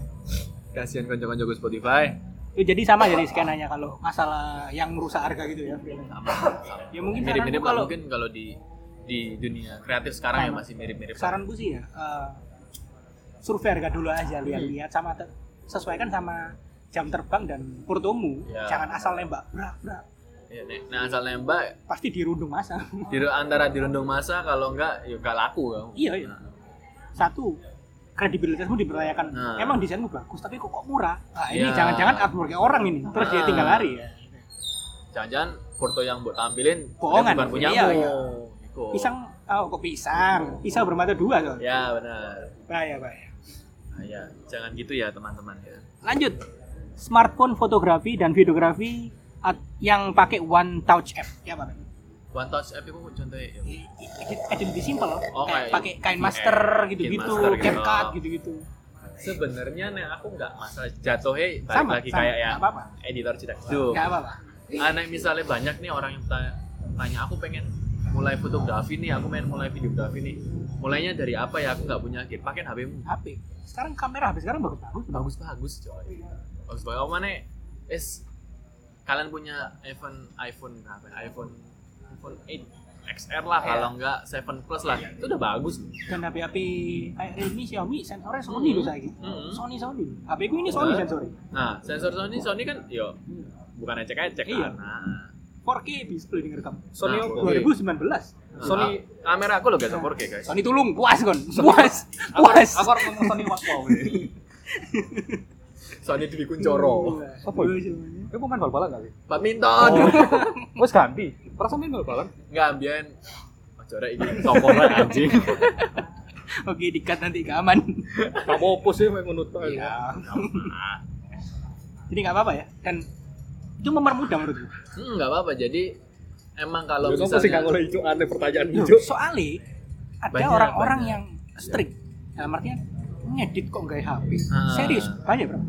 [SPEAKER 1] kasihan kanca-kanca gue Spotify
[SPEAKER 2] itu jadi sama jadi skenanya kalau masalah yang merusak harga gitu ya
[SPEAKER 1] sama, sama.
[SPEAKER 2] ya mungkin saran
[SPEAKER 1] mirip-mirip
[SPEAKER 2] gua
[SPEAKER 1] kalau
[SPEAKER 2] kalau
[SPEAKER 1] mungkin kalau di di dunia kreatif sekarang ya
[SPEAKER 2] Sama.
[SPEAKER 1] masih mirip-mirip
[SPEAKER 2] saran gue sih ya eh, survei harga dulu aja
[SPEAKER 1] Hmm.
[SPEAKER 2] lihat-lihat sama te- sesuaikan sama jam terbang dan portomu
[SPEAKER 1] Ya.
[SPEAKER 2] jangan asal nembak brak brak
[SPEAKER 1] Iya, Nek. nah asal nembak
[SPEAKER 2] pasti dirundung masa
[SPEAKER 1] di antara dirundung masa kalau enggak ya enggak laku ya.
[SPEAKER 2] (laughs) Iya, iya. satu kredibilitasmu dipertanyakan
[SPEAKER 1] Nah.
[SPEAKER 2] emang desainmu bagus tapi kok kok murah nah, ini
[SPEAKER 1] Ya.
[SPEAKER 2] jangan-jangan artworknya orang ini terus dia
[SPEAKER 1] Ah.
[SPEAKER 2] tinggal lari ya
[SPEAKER 1] Jangan-jangan foto yang buat tampilin
[SPEAKER 2] Bohongan.
[SPEAKER 1] bukan punya
[SPEAKER 2] Iya, iya.
[SPEAKER 1] Iku.
[SPEAKER 2] pisang oh kok pisang pisang bermata dua soalnya
[SPEAKER 1] Ya benar.
[SPEAKER 2] bahaya bahaya
[SPEAKER 1] Nah, ya. jangan gitu ya teman-teman ya.
[SPEAKER 2] lanjut smartphone fotografi dan videografi at- yang pakai one touch app ya Pak?
[SPEAKER 1] One touch app itu contohnya ya.
[SPEAKER 2] edit, edit lebih simpel loh.
[SPEAKER 1] Oh,
[SPEAKER 2] kayak
[SPEAKER 1] kayak
[SPEAKER 2] pakai kain
[SPEAKER 1] kayak
[SPEAKER 2] master
[SPEAKER 1] kain
[SPEAKER 2] gitu-gitu,
[SPEAKER 1] master gitu.
[SPEAKER 2] CapCut gitu-gitu.
[SPEAKER 1] Sebenarnya nih aku nggak masalah jatuhnya balik
[SPEAKER 2] Sama,
[SPEAKER 1] lagi
[SPEAKER 2] sama, Ya.
[SPEAKER 1] kayak ya
[SPEAKER 2] nggak apa-apa.
[SPEAKER 1] editor cetak itu.
[SPEAKER 2] Enggak apa-apa.
[SPEAKER 1] Aneh misalnya banyak nih orang yang tanya, tanya aku pengen mulai fotografi nih, aku pengen mulai videografi nih. Mulainya dari apa ya? Aku nggak punya kit. Pakai HPmu.
[SPEAKER 2] HP. Sekarang kamera HP sekarang bagus-bagus.
[SPEAKER 1] bagus bagus coy bagus banget mana es kalian punya iPhone iPhone apa ya? iPhone iPhone 8 XR lah
[SPEAKER 2] Iya.
[SPEAKER 1] kalau enggak 7 plus lah itu udah bagus loh.
[SPEAKER 2] Dan HP-HP kayak Realme, Xiaomi, sensornya Sony
[SPEAKER 1] Mm-mm.
[SPEAKER 2] loh saiki.
[SPEAKER 1] Mm-mm.
[SPEAKER 2] Sony Sony. HP ku ini Sony
[SPEAKER 1] Betul.
[SPEAKER 2] sensornya.
[SPEAKER 1] nah sensor Sony Sony kan yo bukan ecek ecek
[SPEAKER 2] Iya.
[SPEAKER 1] kan nah,
[SPEAKER 2] 4K bisa loh direkam.
[SPEAKER 3] Sony
[SPEAKER 1] Nah,
[SPEAKER 3] opo?
[SPEAKER 2] 2019.
[SPEAKER 1] Sony
[SPEAKER 3] Sony-
[SPEAKER 1] kamera Nah, aku loh gak 4K guys (laughs)
[SPEAKER 2] Sony tulung puas kon. Puas.
[SPEAKER 3] Aku
[SPEAKER 2] Puas.
[SPEAKER 3] aku harus ngomong Sony Watch
[SPEAKER 1] soalnya dibikin
[SPEAKER 2] Hmm.
[SPEAKER 1] coro
[SPEAKER 3] Apa ya? Kamu mau main bal-balan gak sih?
[SPEAKER 1] badminton
[SPEAKER 3] Wes ganti. Perasaan main bal-balan.
[SPEAKER 1] nggak ambian ojo rek iki sokongan Oh,
[SPEAKER 3] (laughs)
[SPEAKER 1] anjing
[SPEAKER 2] Oke, dikat nanti gak aman.
[SPEAKER 3] Gak mau pos sih main ngunut aja.
[SPEAKER 2] Iya. (laughs) Jadi nggak apa-apa ya. Dan itu mempermudah menurutku.
[SPEAKER 1] hmm, nggak apa-apa jadi emang kalau
[SPEAKER 3] Kalau kamu sih gak
[SPEAKER 1] misalnya
[SPEAKER 3] boleh hijau aneh pertanyaan
[SPEAKER 2] Loh,
[SPEAKER 3] hijau.
[SPEAKER 2] Soalnya ada
[SPEAKER 1] Banyak,
[SPEAKER 2] orang-orang
[SPEAKER 1] banyak.
[SPEAKER 2] yang strict. Dalam artian ngedit kok nggak HP.
[SPEAKER 1] Ah.
[SPEAKER 2] Serius, banyak bro.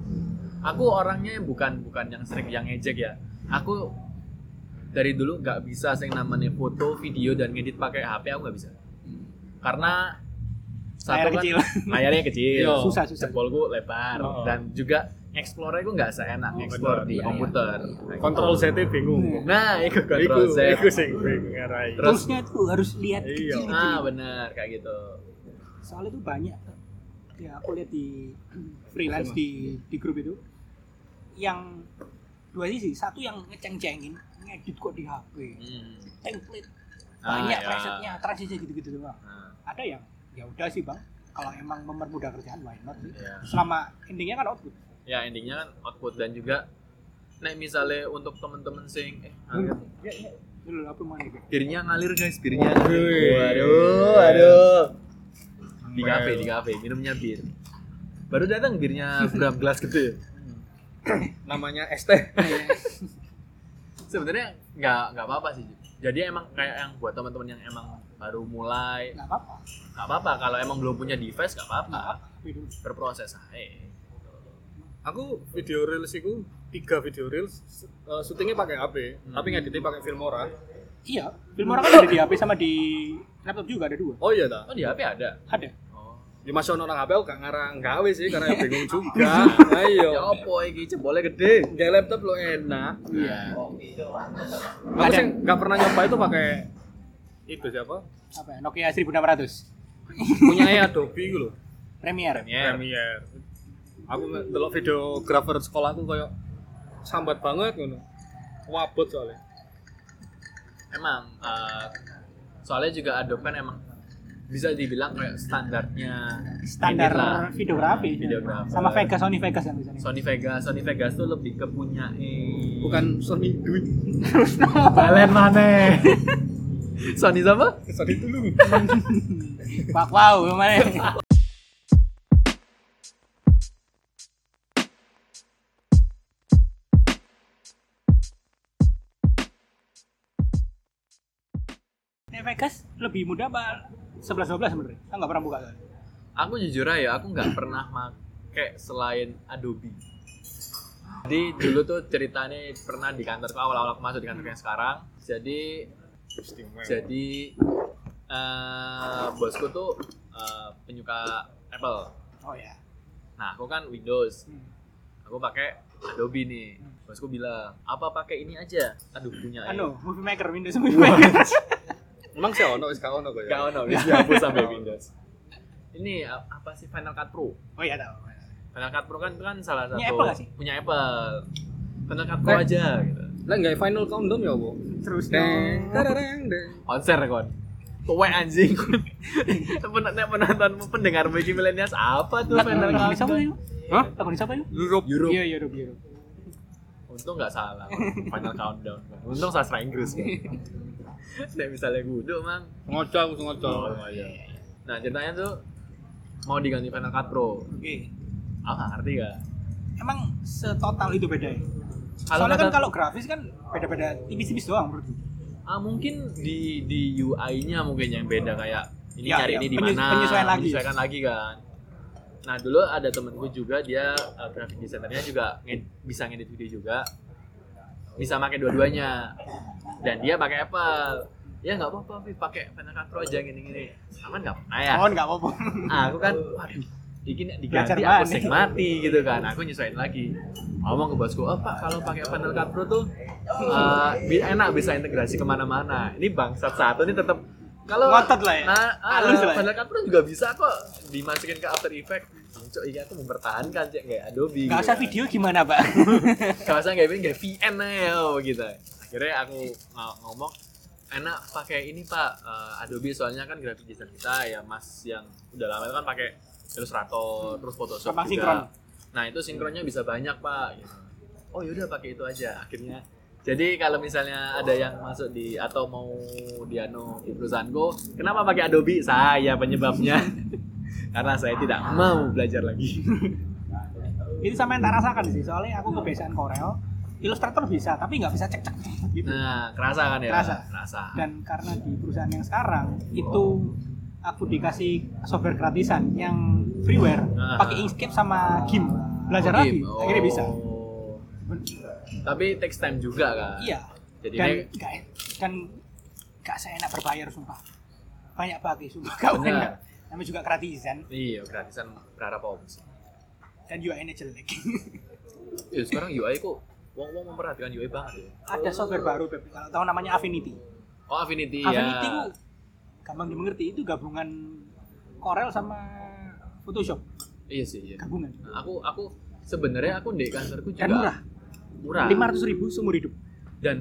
[SPEAKER 1] aku orangnya bukan bukan yang sering yang ngejek ya aku dari dulu nggak bisa yang namanya foto video dan ngedit pakai HP aku nggak bisa karena
[SPEAKER 2] Layar
[SPEAKER 1] kan-
[SPEAKER 2] kecil.
[SPEAKER 1] layarnya kecil
[SPEAKER 3] Iya.
[SPEAKER 2] Susah, susah.
[SPEAKER 1] jempolku lebar
[SPEAKER 3] Oh.
[SPEAKER 1] dan juga explore gue nggak seenak
[SPEAKER 3] Oh,
[SPEAKER 1] explore di
[SPEAKER 3] benar. Iya, iya.
[SPEAKER 1] komputer
[SPEAKER 3] Kontrol Z bingung.
[SPEAKER 1] nah itu
[SPEAKER 3] Iya. Iku,
[SPEAKER 1] kontrol Z
[SPEAKER 3] iku sing bingung ngarai.
[SPEAKER 1] Terus-
[SPEAKER 2] Terusnya itu harus lihat
[SPEAKER 3] Iya.
[SPEAKER 2] kecil.
[SPEAKER 1] ah benar kayak gitu
[SPEAKER 2] Soalnya itu banyak. Ya aku lihat di freelance di di grup itu yang dua sisi. Satu yang ngeceng-cengin ngedit kok di HP.
[SPEAKER 1] Hmm.
[SPEAKER 2] Template
[SPEAKER 1] Ah,
[SPEAKER 2] banyak
[SPEAKER 1] ya.
[SPEAKER 2] presetnya, transisi gitu-gitu doang.
[SPEAKER 1] Nah,
[SPEAKER 2] ada yang ya udah sih bang kalau emang mempermudah kerjaan why not sih
[SPEAKER 1] ya.
[SPEAKER 2] selama endingnya kan output
[SPEAKER 1] ya endingnya kan output dan juga nek misalnya untuk temen-temen sing eh
[SPEAKER 2] Iya,
[SPEAKER 1] ngalir.
[SPEAKER 2] dulu apa mana itu
[SPEAKER 1] birnya ngalir guys birnya
[SPEAKER 3] Wih.
[SPEAKER 1] waduh aduh di kafe di kafe minumnya bir baru datang birnya (laughs) berapa gelas gede
[SPEAKER 3] Namanya es teh.
[SPEAKER 2] Iya,
[SPEAKER 1] sebenarnya nggak nggak apa-apa sih jadi emang kayak yang buat teman-teman yang emang baru mulai
[SPEAKER 2] nggak apa-apa
[SPEAKER 1] nggak apa-apa kalau emang belum punya device nggak
[SPEAKER 2] nggak
[SPEAKER 1] apa-apa
[SPEAKER 2] apa tapi dulu
[SPEAKER 1] berproses aja
[SPEAKER 3] Aku video reels itu tiga video reels eh, syutingnya pakai HP,
[SPEAKER 1] Hmm.
[SPEAKER 3] tapi ngeditnya pakai Filmora.
[SPEAKER 2] iya film orang kan ada di HP sama di laptop juga ada dua
[SPEAKER 3] Oh iya dah.
[SPEAKER 1] oh di HP ada
[SPEAKER 2] ada
[SPEAKER 1] oh
[SPEAKER 3] Ya masih ono nang HP aku gak ngarang gawe sih karena ya bingung
[SPEAKER 1] (laughs)
[SPEAKER 3] juga.
[SPEAKER 1] ya
[SPEAKER 3] Ayo.
[SPEAKER 1] apa iki jempolnya gede
[SPEAKER 3] Gak laptop lo enak.
[SPEAKER 1] iya
[SPEAKER 3] Aku sih gak pernah nyoba itu pakai itu siapa?
[SPEAKER 2] apa ya, Nokia 1600
[SPEAKER 3] Punyanya Adobe gitu loh.
[SPEAKER 2] Premiere
[SPEAKER 1] Premier.
[SPEAKER 3] Premiere. Aku ndelok videografer sekolahku koyo sambat banget ngono. Wabot soalnya.
[SPEAKER 1] emang eh, soalnya juga Adobe kan emang bisa dibilang kayak standarnya
[SPEAKER 2] standar
[SPEAKER 1] inilah,
[SPEAKER 2] videografi
[SPEAKER 1] videografer.
[SPEAKER 2] sama Vegas Sony Vegas kan yang misalnya
[SPEAKER 1] Sony Vegas Sony Vegas tuh lebih ke punya
[SPEAKER 3] Bukan Sony duit, (laughs)
[SPEAKER 1] Balen mana (laughs) Sony sama
[SPEAKER 3] Sony tulung.
[SPEAKER 2] wow wow gimana Nah, Vegas lebih mudah apa 11 12 sebenarnya. Saya nggak pernah buka soalnya.
[SPEAKER 1] aku jujur aja aku nggak pernah make selain Adobe jadi dulu tuh ceritanya pernah di kantor awal-awal aku masuk di kantor yang sekarang jadi jadi eh, bosku tuh eh, penyuka Apple
[SPEAKER 2] Oh ya.
[SPEAKER 1] nah aku kan Windows
[SPEAKER 2] Hmm.
[SPEAKER 1] aku pakai Adobe nih bosku bilang apa pakai ini aja aduh punya eh.
[SPEAKER 2] Anu, Movie Maker Windows Movie (laughs) Maker.
[SPEAKER 3] Emang sih ono wis gak ono kok
[SPEAKER 1] Gak
[SPEAKER 3] ya.
[SPEAKER 1] ono, wis dihapus sampai Windows. Ini a- apa sih Final Cut Pro?
[SPEAKER 2] Oh ya tahu.
[SPEAKER 1] Final Cut Pro kan kan salah satu
[SPEAKER 2] Punya Apple gak sih?
[SPEAKER 1] punya Apple. Final Cut Pro
[SPEAKER 3] Eh.
[SPEAKER 1] aja gitu.
[SPEAKER 3] Lah gak final countdown ya, Bu.
[SPEAKER 2] Terus dong.
[SPEAKER 3] Deng, tarareng, deng.
[SPEAKER 1] Konser kon. Kowe anjing. (laughs) Pen- Nek penontonmu pendengarmu iki milenials apa tuh Final
[SPEAKER 2] Lagu
[SPEAKER 1] Cut?
[SPEAKER 2] di siapa
[SPEAKER 1] Pro?
[SPEAKER 2] itu?
[SPEAKER 3] Hah?
[SPEAKER 2] Lagu di siapa itu?
[SPEAKER 3] Europe.
[SPEAKER 1] Europe.
[SPEAKER 2] Iya, iya, Rob, iya, Rob.
[SPEAKER 1] Untung gak salah kon. Final Countdown. kon. Untung sastra Inggris.
[SPEAKER 2] (laughs)
[SPEAKER 1] kon. Nek misalnya guduk mang.
[SPEAKER 3] Sengaja aku sengaja.
[SPEAKER 2] iya.
[SPEAKER 1] Nah, ceritanya tuh mau diganti Final Cut Pro.
[SPEAKER 2] Oke.
[SPEAKER 1] Aku gak ngerti gak?
[SPEAKER 2] Emang setotal itu beda ya?
[SPEAKER 1] Kalau
[SPEAKER 2] Soalnya kan
[SPEAKER 1] kata-
[SPEAKER 2] kalau grafis kan beda-beda tipis-tipis doang menurutku.
[SPEAKER 1] Ah mungkin di di UI-nya mungkin yang beda kayak ini
[SPEAKER 2] Ya,
[SPEAKER 1] cari
[SPEAKER 2] ya,
[SPEAKER 1] ini di
[SPEAKER 2] penyes-
[SPEAKER 1] mana,
[SPEAKER 2] penyesuaian lagi.
[SPEAKER 1] menyesuaikan lagi kan. Nah dulu ada temenku juga dia eh, graphic designernya juga nge- bisa ngedit video juga, bisa pakai dua-duanya dan dia pakai Apple. Ya nggak apa-apa, Viv, pakai Final Cut Pro aja gini-gini. Aman nggak? Nah ya,
[SPEAKER 2] Oh, enggak apa-apa. (laughs)
[SPEAKER 1] Ah, aku kan waduh Iki nek diganti
[SPEAKER 2] Belajar
[SPEAKER 1] aku
[SPEAKER 2] mana?
[SPEAKER 1] sing mati gitu kan aku nyesuaiin lagi ngomong ke bosku oh pak kalau pakai panel cut pro tuh eh, bi- enak bisa integrasi kemana-mana ini bangsat satu ini tetap kalau
[SPEAKER 2] Ngotot lah ya?
[SPEAKER 1] nah, ah,
[SPEAKER 2] Halus lah ya?
[SPEAKER 1] panel cut pro juga bisa kok dimasukin ke After Effects Cok, iya aku mempertahankan cek kayak Adobe. gitu
[SPEAKER 2] Enggak usah
[SPEAKER 1] kan.
[SPEAKER 2] video gimana, Pak? (laughs)
[SPEAKER 1] Gak usah nggak nggak VN aja oh, gitu. Akhirnya aku ng- ngomong enak pakai ini pak eh, Adobe soalnya kan graphic design kita ya mas yang udah lama itu kan pakai Illustrator terus Photoshop juga
[SPEAKER 2] Gampang sinkron.
[SPEAKER 1] Nah itu sinkronnya bisa banyak pak. gitu. Oh yaudah pakai itu aja akhirnya. Jadi kalau misalnya ada yang masuk di atau mau diano di perusahaanku, kenapa pakai Adobe? Saya penyebabnya. (laughs) Karena saya tidak mau belajar lagi.
[SPEAKER 2] itu sama yang tak rasakan sih soalnya aku kebiasaan Corel Illustrator bisa tapi nggak bisa cek cek (laughs) gitu
[SPEAKER 1] Nah, kerasa kan ya?
[SPEAKER 2] Kerasa.
[SPEAKER 1] Kerasa.
[SPEAKER 2] dan karena di perusahaan yang sekarang itu aku dikasih software gratisan yang freeware
[SPEAKER 1] Ah.
[SPEAKER 2] pakai Inkscape sama GIMP belajar
[SPEAKER 1] Oke,
[SPEAKER 2] lagi
[SPEAKER 1] oh.
[SPEAKER 2] akhirnya bisa
[SPEAKER 1] Tapi takes time juga kan?
[SPEAKER 2] iya
[SPEAKER 1] Jadi
[SPEAKER 2] dan
[SPEAKER 1] kayak-
[SPEAKER 2] nggak dan nggak seenak berbayar sumpah banyak bagi sumpah gak
[SPEAKER 1] Benar.
[SPEAKER 2] enak namanya juga gratisan
[SPEAKER 1] iya gratisan berharap apa sih?
[SPEAKER 2] dan UI-nya jelek (laughs)
[SPEAKER 1] Ya, sekarang UI kok wong-wong memperhatikan UI banget ya.
[SPEAKER 2] ada software baru Beb, kalau tahu namanya Affinity
[SPEAKER 1] Oh, Affinity,
[SPEAKER 2] Affinity
[SPEAKER 1] ya.
[SPEAKER 2] ku gampang dimengerti itu gabungan Corel sama Photoshop
[SPEAKER 1] Iya sih, iya.
[SPEAKER 2] gabungan
[SPEAKER 1] Nah, aku aku sebenarnya aku di kantorku juga
[SPEAKER 2] dan murah
[SPEAKER 1] murah.
[SPEAKER 2] lima ratus ribu seumur hidup
[SPEAKER 1] dan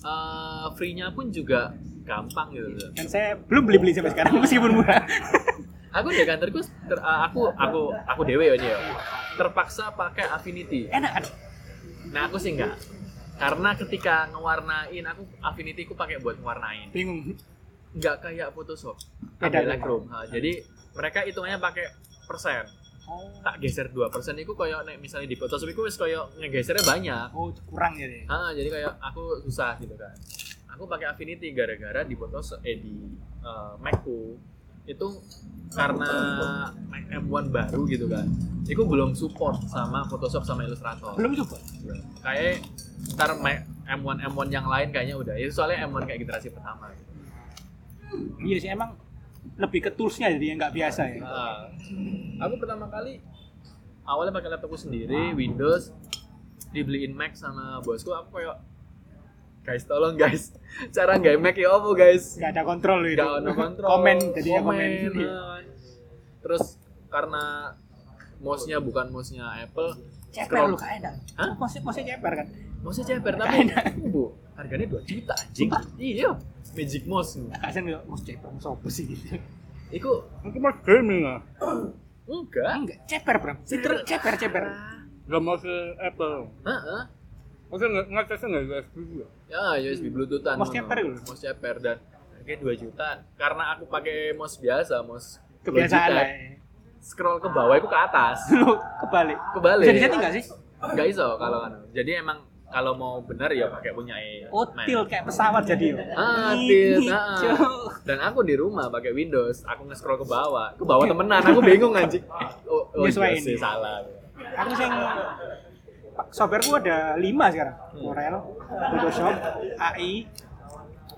[SPEAKER 1] eh, free-nya pun juga gampang gitu.
[SPEAKER 2] dan saya belum beli beli sampai sekarang (laughs) meskipun murah
[SPEAKER 1] Aku di kantorku ter- eh, aku aku aku dewe ya ini ya. Terpaksa pakai Affinity.
[SPEAKER 2] enak kan
[SPEAKER 1] Nah aku sih enggak karena ketika ngewarnain aku affinity ku pakai buat ngewarnain
[SPEAKER 2] bingung
[SPEAKER 1] nggak kayak Photoshop
[SPEAKER 2] Beda,
[SPEAKER 1] ada
[SPEAKER 2] beda.
[SPEAKER 1] Lightroom Ha, jadi mereka hitungannya pakai persen
[SPEAKER 2] Oh,
[SPEAKER 1] tak geser dua persen itu koyo nek misalnya di Photoshop itu wis koyo ngegesernya banyak
[SPEAKER 2] oh kurang jadi
[SPEAKER 1] Ah, jadi kayak aku susah gitu kan. Aku pakai Affinity gara-gara di Photoshop eh di eh, Macku itu karena Mac M1 baru gitu kan. Itu belum support sama Photoshop sama Illustrator.
[SPEAKER 2] belum coba
[SPEAKER 1] Kayak ntar Mac M1 M1 yang lain kayaknya udah. Ya soalnya M1 kayak generasi pertama. Gitu.
[SPEAKER 2] iya sih emang lebih ke toolsnya jadi yang nggak biasa ya
[SPEAKER 1] Ah, aku pertama kali awalnya pakai laptopku sendiri Windows dibeliin Mac sama bosku aku kayak guys tolong guys cara nggak Mac ya apa guys
[SPEAKER 2] nggak ada kontrol itu
[SPEAKER 1] nggak ada kontrol
[SPEAKER 2] komen jadinya komen, ya.
[SPEAKER 1] kan. terus karena mouse-nya bukan mouse-nya Apple
[SPEAKER 2] ceper lu kayak enak
[SPEAKER 1] Hah?
[SPEAKER 2] masih masih ceper kan
[SPEAKER 1] mouse-nya ceper tapi bu harganya 2 juta anjing iya magic mouse
[SPEAKER 2] kasian lu mau ceper mau sopo sih gitu
[SPEAKER 1] Iku
[SPEAKER 3] Aku mah gaming ah. lah.
[SPEAKER 1] enggak
[SPEAKER 2] enggak ceper bram itu ceper ceper
[SPEAKER 3] Gak mau ke Apple.
[SPEAKER 1] Heeh.
[SPEAKER 3] Maksudnya nggak ngaksesnya nggak USB juga.
[SPEAKER 1] Ya,
[SPEAKER 2] Hmm.
[SPEAKER 1] USB Bluetoothan. ngono.
[SPEAKER 2] Mouse ceper itu.
[SPEAKER 1] Mouse ceper dan harganya 2 jutaan. Karena aku pakai mouse biasa, mouse
[SPEAKER 2] kebiasaan lah ya.
[SPEAKER 1] Logitech. Scroll ke bawah itu ke
[SPEAKER 2] (laughs)
[SPEAKER 1] atas.
[SPEAKER 2] lu kebalik
[SPEAKER 1] Kebalik.
[SPEAKER 2] bisa disetting nggak sih
[SPEAKER 1] Nggak iso kalau anu. Jadi emang kalau mau benar ya pakai punya E.
[SPEAKER 2] oh tilt kayak pesawat jadi yo
[SPEAKER 1] Ah, tilt,
[SPEAKER 2] Ini,
[SPEAKER 1] ah.
[SPEAKER 2] Cuk.
[SPEAKER 1] Dan aku di rumah pakai Windows, aku nge-scroll ke bawah. Ke bawah temenan, aku bingung
[SPEAKER 2] (laughs)
[SPEAKER 1] anjing. Oh, oh
[SPEAKER 2] Nyesuaiin.
[SPEAKER 1] iya sih, salah.
[SPEAKER 2] aku sing software gua ada lima sekarang
[SPEAKER 1] Hmm.
[SPEAKER 2] Corel Photoshop AI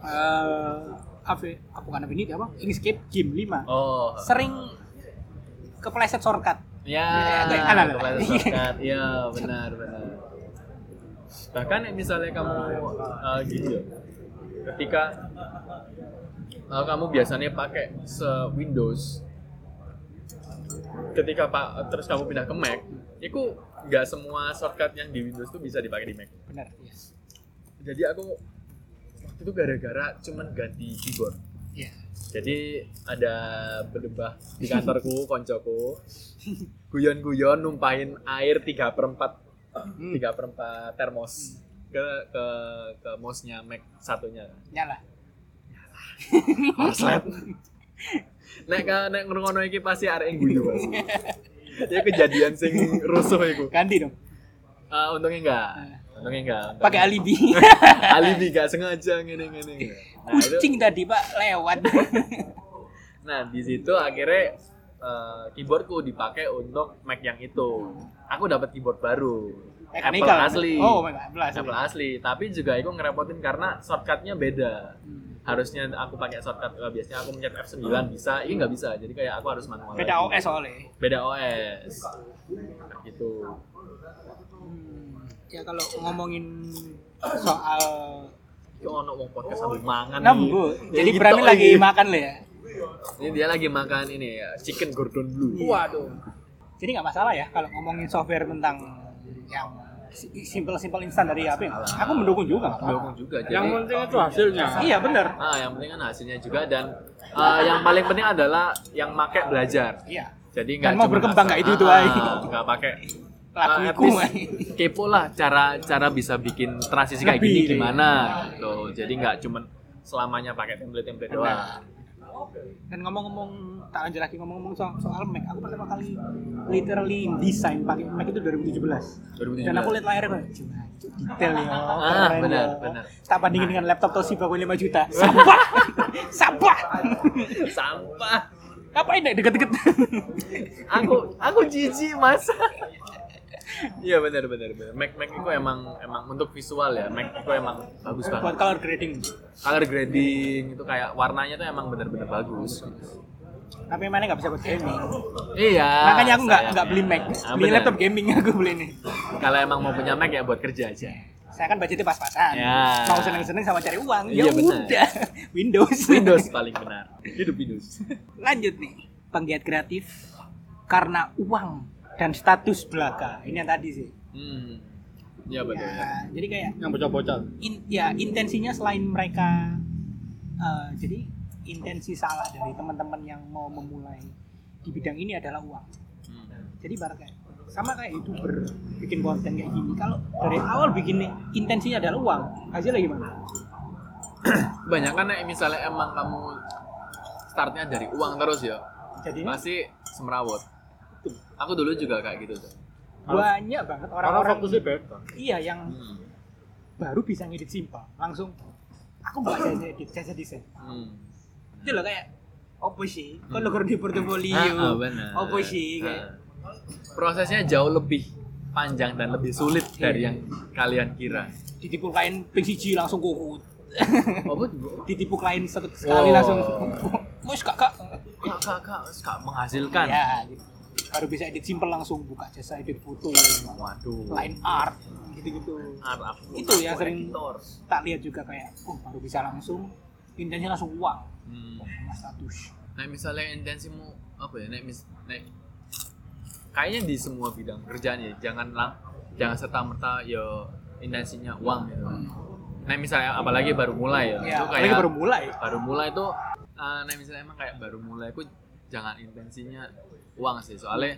[SPEAKER 2] eh apa apa bukan kan apa ini apa Inkscape Gim lima
[SPEAKER 1] Oh.
[SPEAKER 2] sering kepleset shortcut
[SPEAKER 1] Ya,
[SPEAKER 2] kayak kanan.
[SPEAKER 1] kepala shortcut. Ya, benar, benar. Bahkan yang misalnya kamu eh, gini ya, ketika eh, kamu biasanya pakai se Windows, ketika pak terus kamu pindah ke Mac, itu nggak semua shortcut yang di Windows tuh bisa dipakai di Mac.
[SPEAKER 2] benar yes
[SPEAKER 1] Jadi aku waktu itu gara-gara cuman ganti keyboard.
[SPEAKER 2] ya
[SPEAKER 1] Jadi ada berubah di
[SPEAKER 2] (laughs)
[SPEAKER 1] kantorku, koncoku Guyon-guyon numpain air 3 per
[SPEAKER 2] Hmm.
[SPEAKER 1] 4 3 per 4 termos ke ke ke mouse-nya Mac
[SPEAKER 2] (laughs)
[SPEAKER 1] satunya
[SPEAKER 2] nyala
[SPEAKER 1] Korslet Nek ka nek ngrungono iki pasti arek guyu
[SPEAKER 2] (laughs)
[SPEAKER 1] Mas. Ya kejadian sing rusuh iku.
[SPEAKER 2] ganti dong
[SPEAKER 1] Ah, untungnya enggak. Untungnya enggak. untungnya.
[SPEAKER 2] pakai
[SPEAKER 1] (laughs)
[SPEAKER 2] alibi
[SPEAKER 1] Nah,
[SPEAKER 2] (laughs)
[SPEAKER 1] alibi enggak sengaja ngene-ngene. Nah, itu-
[SPEAKER 2] kucing tadi pak
[SPEAKER 1] (laughs)
[SPEAKER 2] lewat
[SPEAKER 1] Nah, di situ akhirnya eh, keyboardku dipakai untuk Mac yang itu. Aku dapat keyboard baru. Apple
[SPEAKER 2] Mechanical.
[SPEAKER 1] asli.
[SPEAKER 2] oh belas
[SPEAKER 1] Apple asli, tapi juga aku ngerepotin karena shortcutnya beda.
[SPEAKER 2] Hmm.
[SPEAKER 1] Harusnya aku pakai shortcut eh, biasanya aku mencet F9 bisa, ini nggak bisa. Jadi kayak aku harus manual.
[SPEAKER 2] beda
[SPEAKER 1] lagi.
[SPEAKER 2] OS soalnya
[SPEAKER 1] Beda OS. Nah, Gitu.
[SPEAKER 2] Hmm, ya kalau ngomongin soal
[SPEAKER 1] Itu ono wong podcast sambil mangan.
[SPEAKER 2] Nambu,
[SPEAKER 1] iki.
[SPEAKER 2] jadi
[SPEAKER 1] Iki
[SPEAKER 2] Brami
[SPEAKER 1] tok
[SPEAKER 2] lagi
[SPEAKER 1] iki.
[SPEAKER 2] makan lo ya.
[SPEAKER 1] Ini dia lagi makan ini ya, chicken gordon blue.
[SPEAKER 2] Waduh. Iya. Jadi nggak masalah ya kalau ngomongin software tentang yang si- simple-simple instan dari HP. Aku mendukung juga. nggak apa-apa.
[SPEAKER 1] Dukung juga. Jadi,
[SPEAKER 3] Yang penting itu hasilnya.
[SPEAKER 2] Iya bener.
[SPEAKER 1] Ah, yang penting kan hasilnya juga dan eh, yang paling penting adalah yang make belajar.
[SPEAKER 2] Iya.
[SPEAKER 1] Jadi nggak
[SPEAKER 2] Dan mau
[SPEAKER 1] cuma
[SPEAKER 2] berkembang,
[SPEAKER 1] asal-
[SPEAKER 2] nggak itu-itu
[SPEAKER 1] Ah,
[SPEAKER 2] aja.
[SPEAKER 1] Nggak pakai at
[SPEAKER 4] lagu
[SPEAKER 1] least kepo lah cara cara bisa bikin transisi kayak gini
[SPEAKER 2] Lebih.
[SPEAKER 1] gimana gitu jadi nggak cuman selamanya pakai template template doang
[SPEAKER 2] dan ngomong-ngomong tak lanjut lagi ngomong-ngomong soal, soal Mac aku pertama kali literally desain pakai Mac itu 2017 dan aku
[SPEAKER 1] 2017
[SPEAKER 2] lihat layarnya kayak cuma detail ya
[SPEAKER 1] Ah,
[SPEAKER 2] keren
[SPEAKER 1] benar,
[SPEAKER 2] ya."
[SPEAKER 1] benar.
[SPEAKER 2] tak bandingin dengan laptop Toshiba gue 5 juta
[SPEAKER 1] (laughs)
[SPEAKER 2] sampah sampah
[SPEAKER 1] sampah
[SPEAKER 2] ngapain
[SPEAKER 1] (laughs)
[SPEAKER 2] deh deket-deket
[SPEAKER 1] aku aku jijik mas Iya benar benar benar. Mac Mac itu emang emang untuk visual ya. Mac itu emang bagus
[SPEAKER 2] buat
[SPEAKER 1] banget.
[SPEAKER 2] color grading
[SPEAKER 1] Color grading itu kayak warnanya tuh emang benar-benar bagus. gitu.
[SPEAKER 2] tapi mana nggak bisa buat gaming
[SPEAKER 1] Iya.
[SPEAKER 2] makanya aku nggak
[SPEAKER 1] sayangnya.
[SPEAKER 2] nggak beli Mac
[SPEAKER 1] Ah,
[SPEAKER 2] beli
[SPEAKER 1] benar.
[SPEAKER 2] laptop gaming aku beli ini
[SPEAKER 1] Kalau emang mau punya Mac ya buat kerja aja.
[SPEAKER 2] saya kan budgetnya pas-pasan
[SPEAKER 1] Ya.
[SPEAKER 2] mau seneng-seneng sama cari uang
[SPEAKER 1] Iya,
[SPEAKER 2] ya
[SPEAKER 1] benar.
[SPEAKER 2] udah (laughs) Windows
[SPEAKER 1] (laughs) Windows paling benar. Hidup Windows.
[SPEAKER 2] lanjut nih penggiat kreatif karena uang dan status belaka ini yang tadi sih
[SPEAKER 1] Hmm. Iya betul.
[SPEAKER 2] ya, jadi kayak
[SPEAKER 3] yang bocah-bocah
[SPEAKER 2] in- ya intensinya selain mereka eh, jadi intensi salah dari teman-teman yang mau memulai di bidang ini adalah uang
[SPEAKER 1] Hmm.
[SPEAKER 2] jadi ibarat kayak sama kayak youtuber bikin konten kayak gini kalau dari awal bikin intensinya adalah uang hasilnya gimana
[SPEAKER 1] Kebanyakan nek, misalnya emang kamu startnya dari uang terus ya,
[SPEAKER 2] jadinya
[SPEAKER 1] pasti semrawut. Aku dulu juga kayak gitu tuh.
[SPEAKER 2] banyak banget
[SPEAKER 3] karena
[SPEAKER 2] orang-orang
[SPEAKER 3] fokusnya beda
[SPEAKER 2] iya yang
[SPEAKER 1] Hmm.
[SPEAKER 2] baru bisa ngedit simpel langsung aku buat jasa edit jasa desain
[SPEAKER 1] Hmm.
[SPEAKER 2] itu loh kayak opo sih kalau kurang di
[SPEAKER 1] (laughs)
[SPEAKER 2] portofolio
[SPEAKER 1] Ah, ah, benar.
[SPEAKER 2] opo Iya. sih kayak
[SPEAKER 1] Ah. Prosesnya jauh lebih panjang dan lebih sulit
[SPEAKER 2] Iya.
[SPEAKER 1] dari yang kalian kira.
[SPEAKER 2] ditipu klien ping siji langsung kukut
[SPEAKER 1] (laughs) Oh,
[SPEAKER 2] ditipu klien satu sekali
[SPEAKER 1] Wow.
[SPEAKER 2] langsung mus kakak
[SPEAKER 1] kak, kak, kak, kak menghasilkan.
[SPEAKER 2] ya gitu. baru bisa edit simpel langsung buka jasa edit foto
[SPEAKER 1] Waduh.
[SPEAKER 2] line art gitu-gitu
[SPEAKER 1] Arab.
[SPEAKER 2] Itu ya sering-
[SPEAKER 1] Editor.
[SPEAKER 2] tak lihat juga kayak oh baru bisa langsung intensinya langsung uang
[SPEAKER 1] Hmm.
[SPEAKER 2] sama status
[SPEAKER 1] Nah, misalnya intensimu apa ya? Nek, mis, nek, kayaknya di semua bidang kerjaan ya, jangan lang, jangan serta merta yo intensinya uang gitu. Nah, misalnya apalagi baru mulai ya,
[SPEAKER 2] ya
[SPEAKER 1] itu
[SPEAKER 2] Hmm. apalagi
[SPEAKER 1] kayak
[SPEAKER 2] baru mulai
[SPEAKER 1] baru mulai itu eh nah misalnya emang kayak baru mulai aku jangan intensinya uang sih soalnya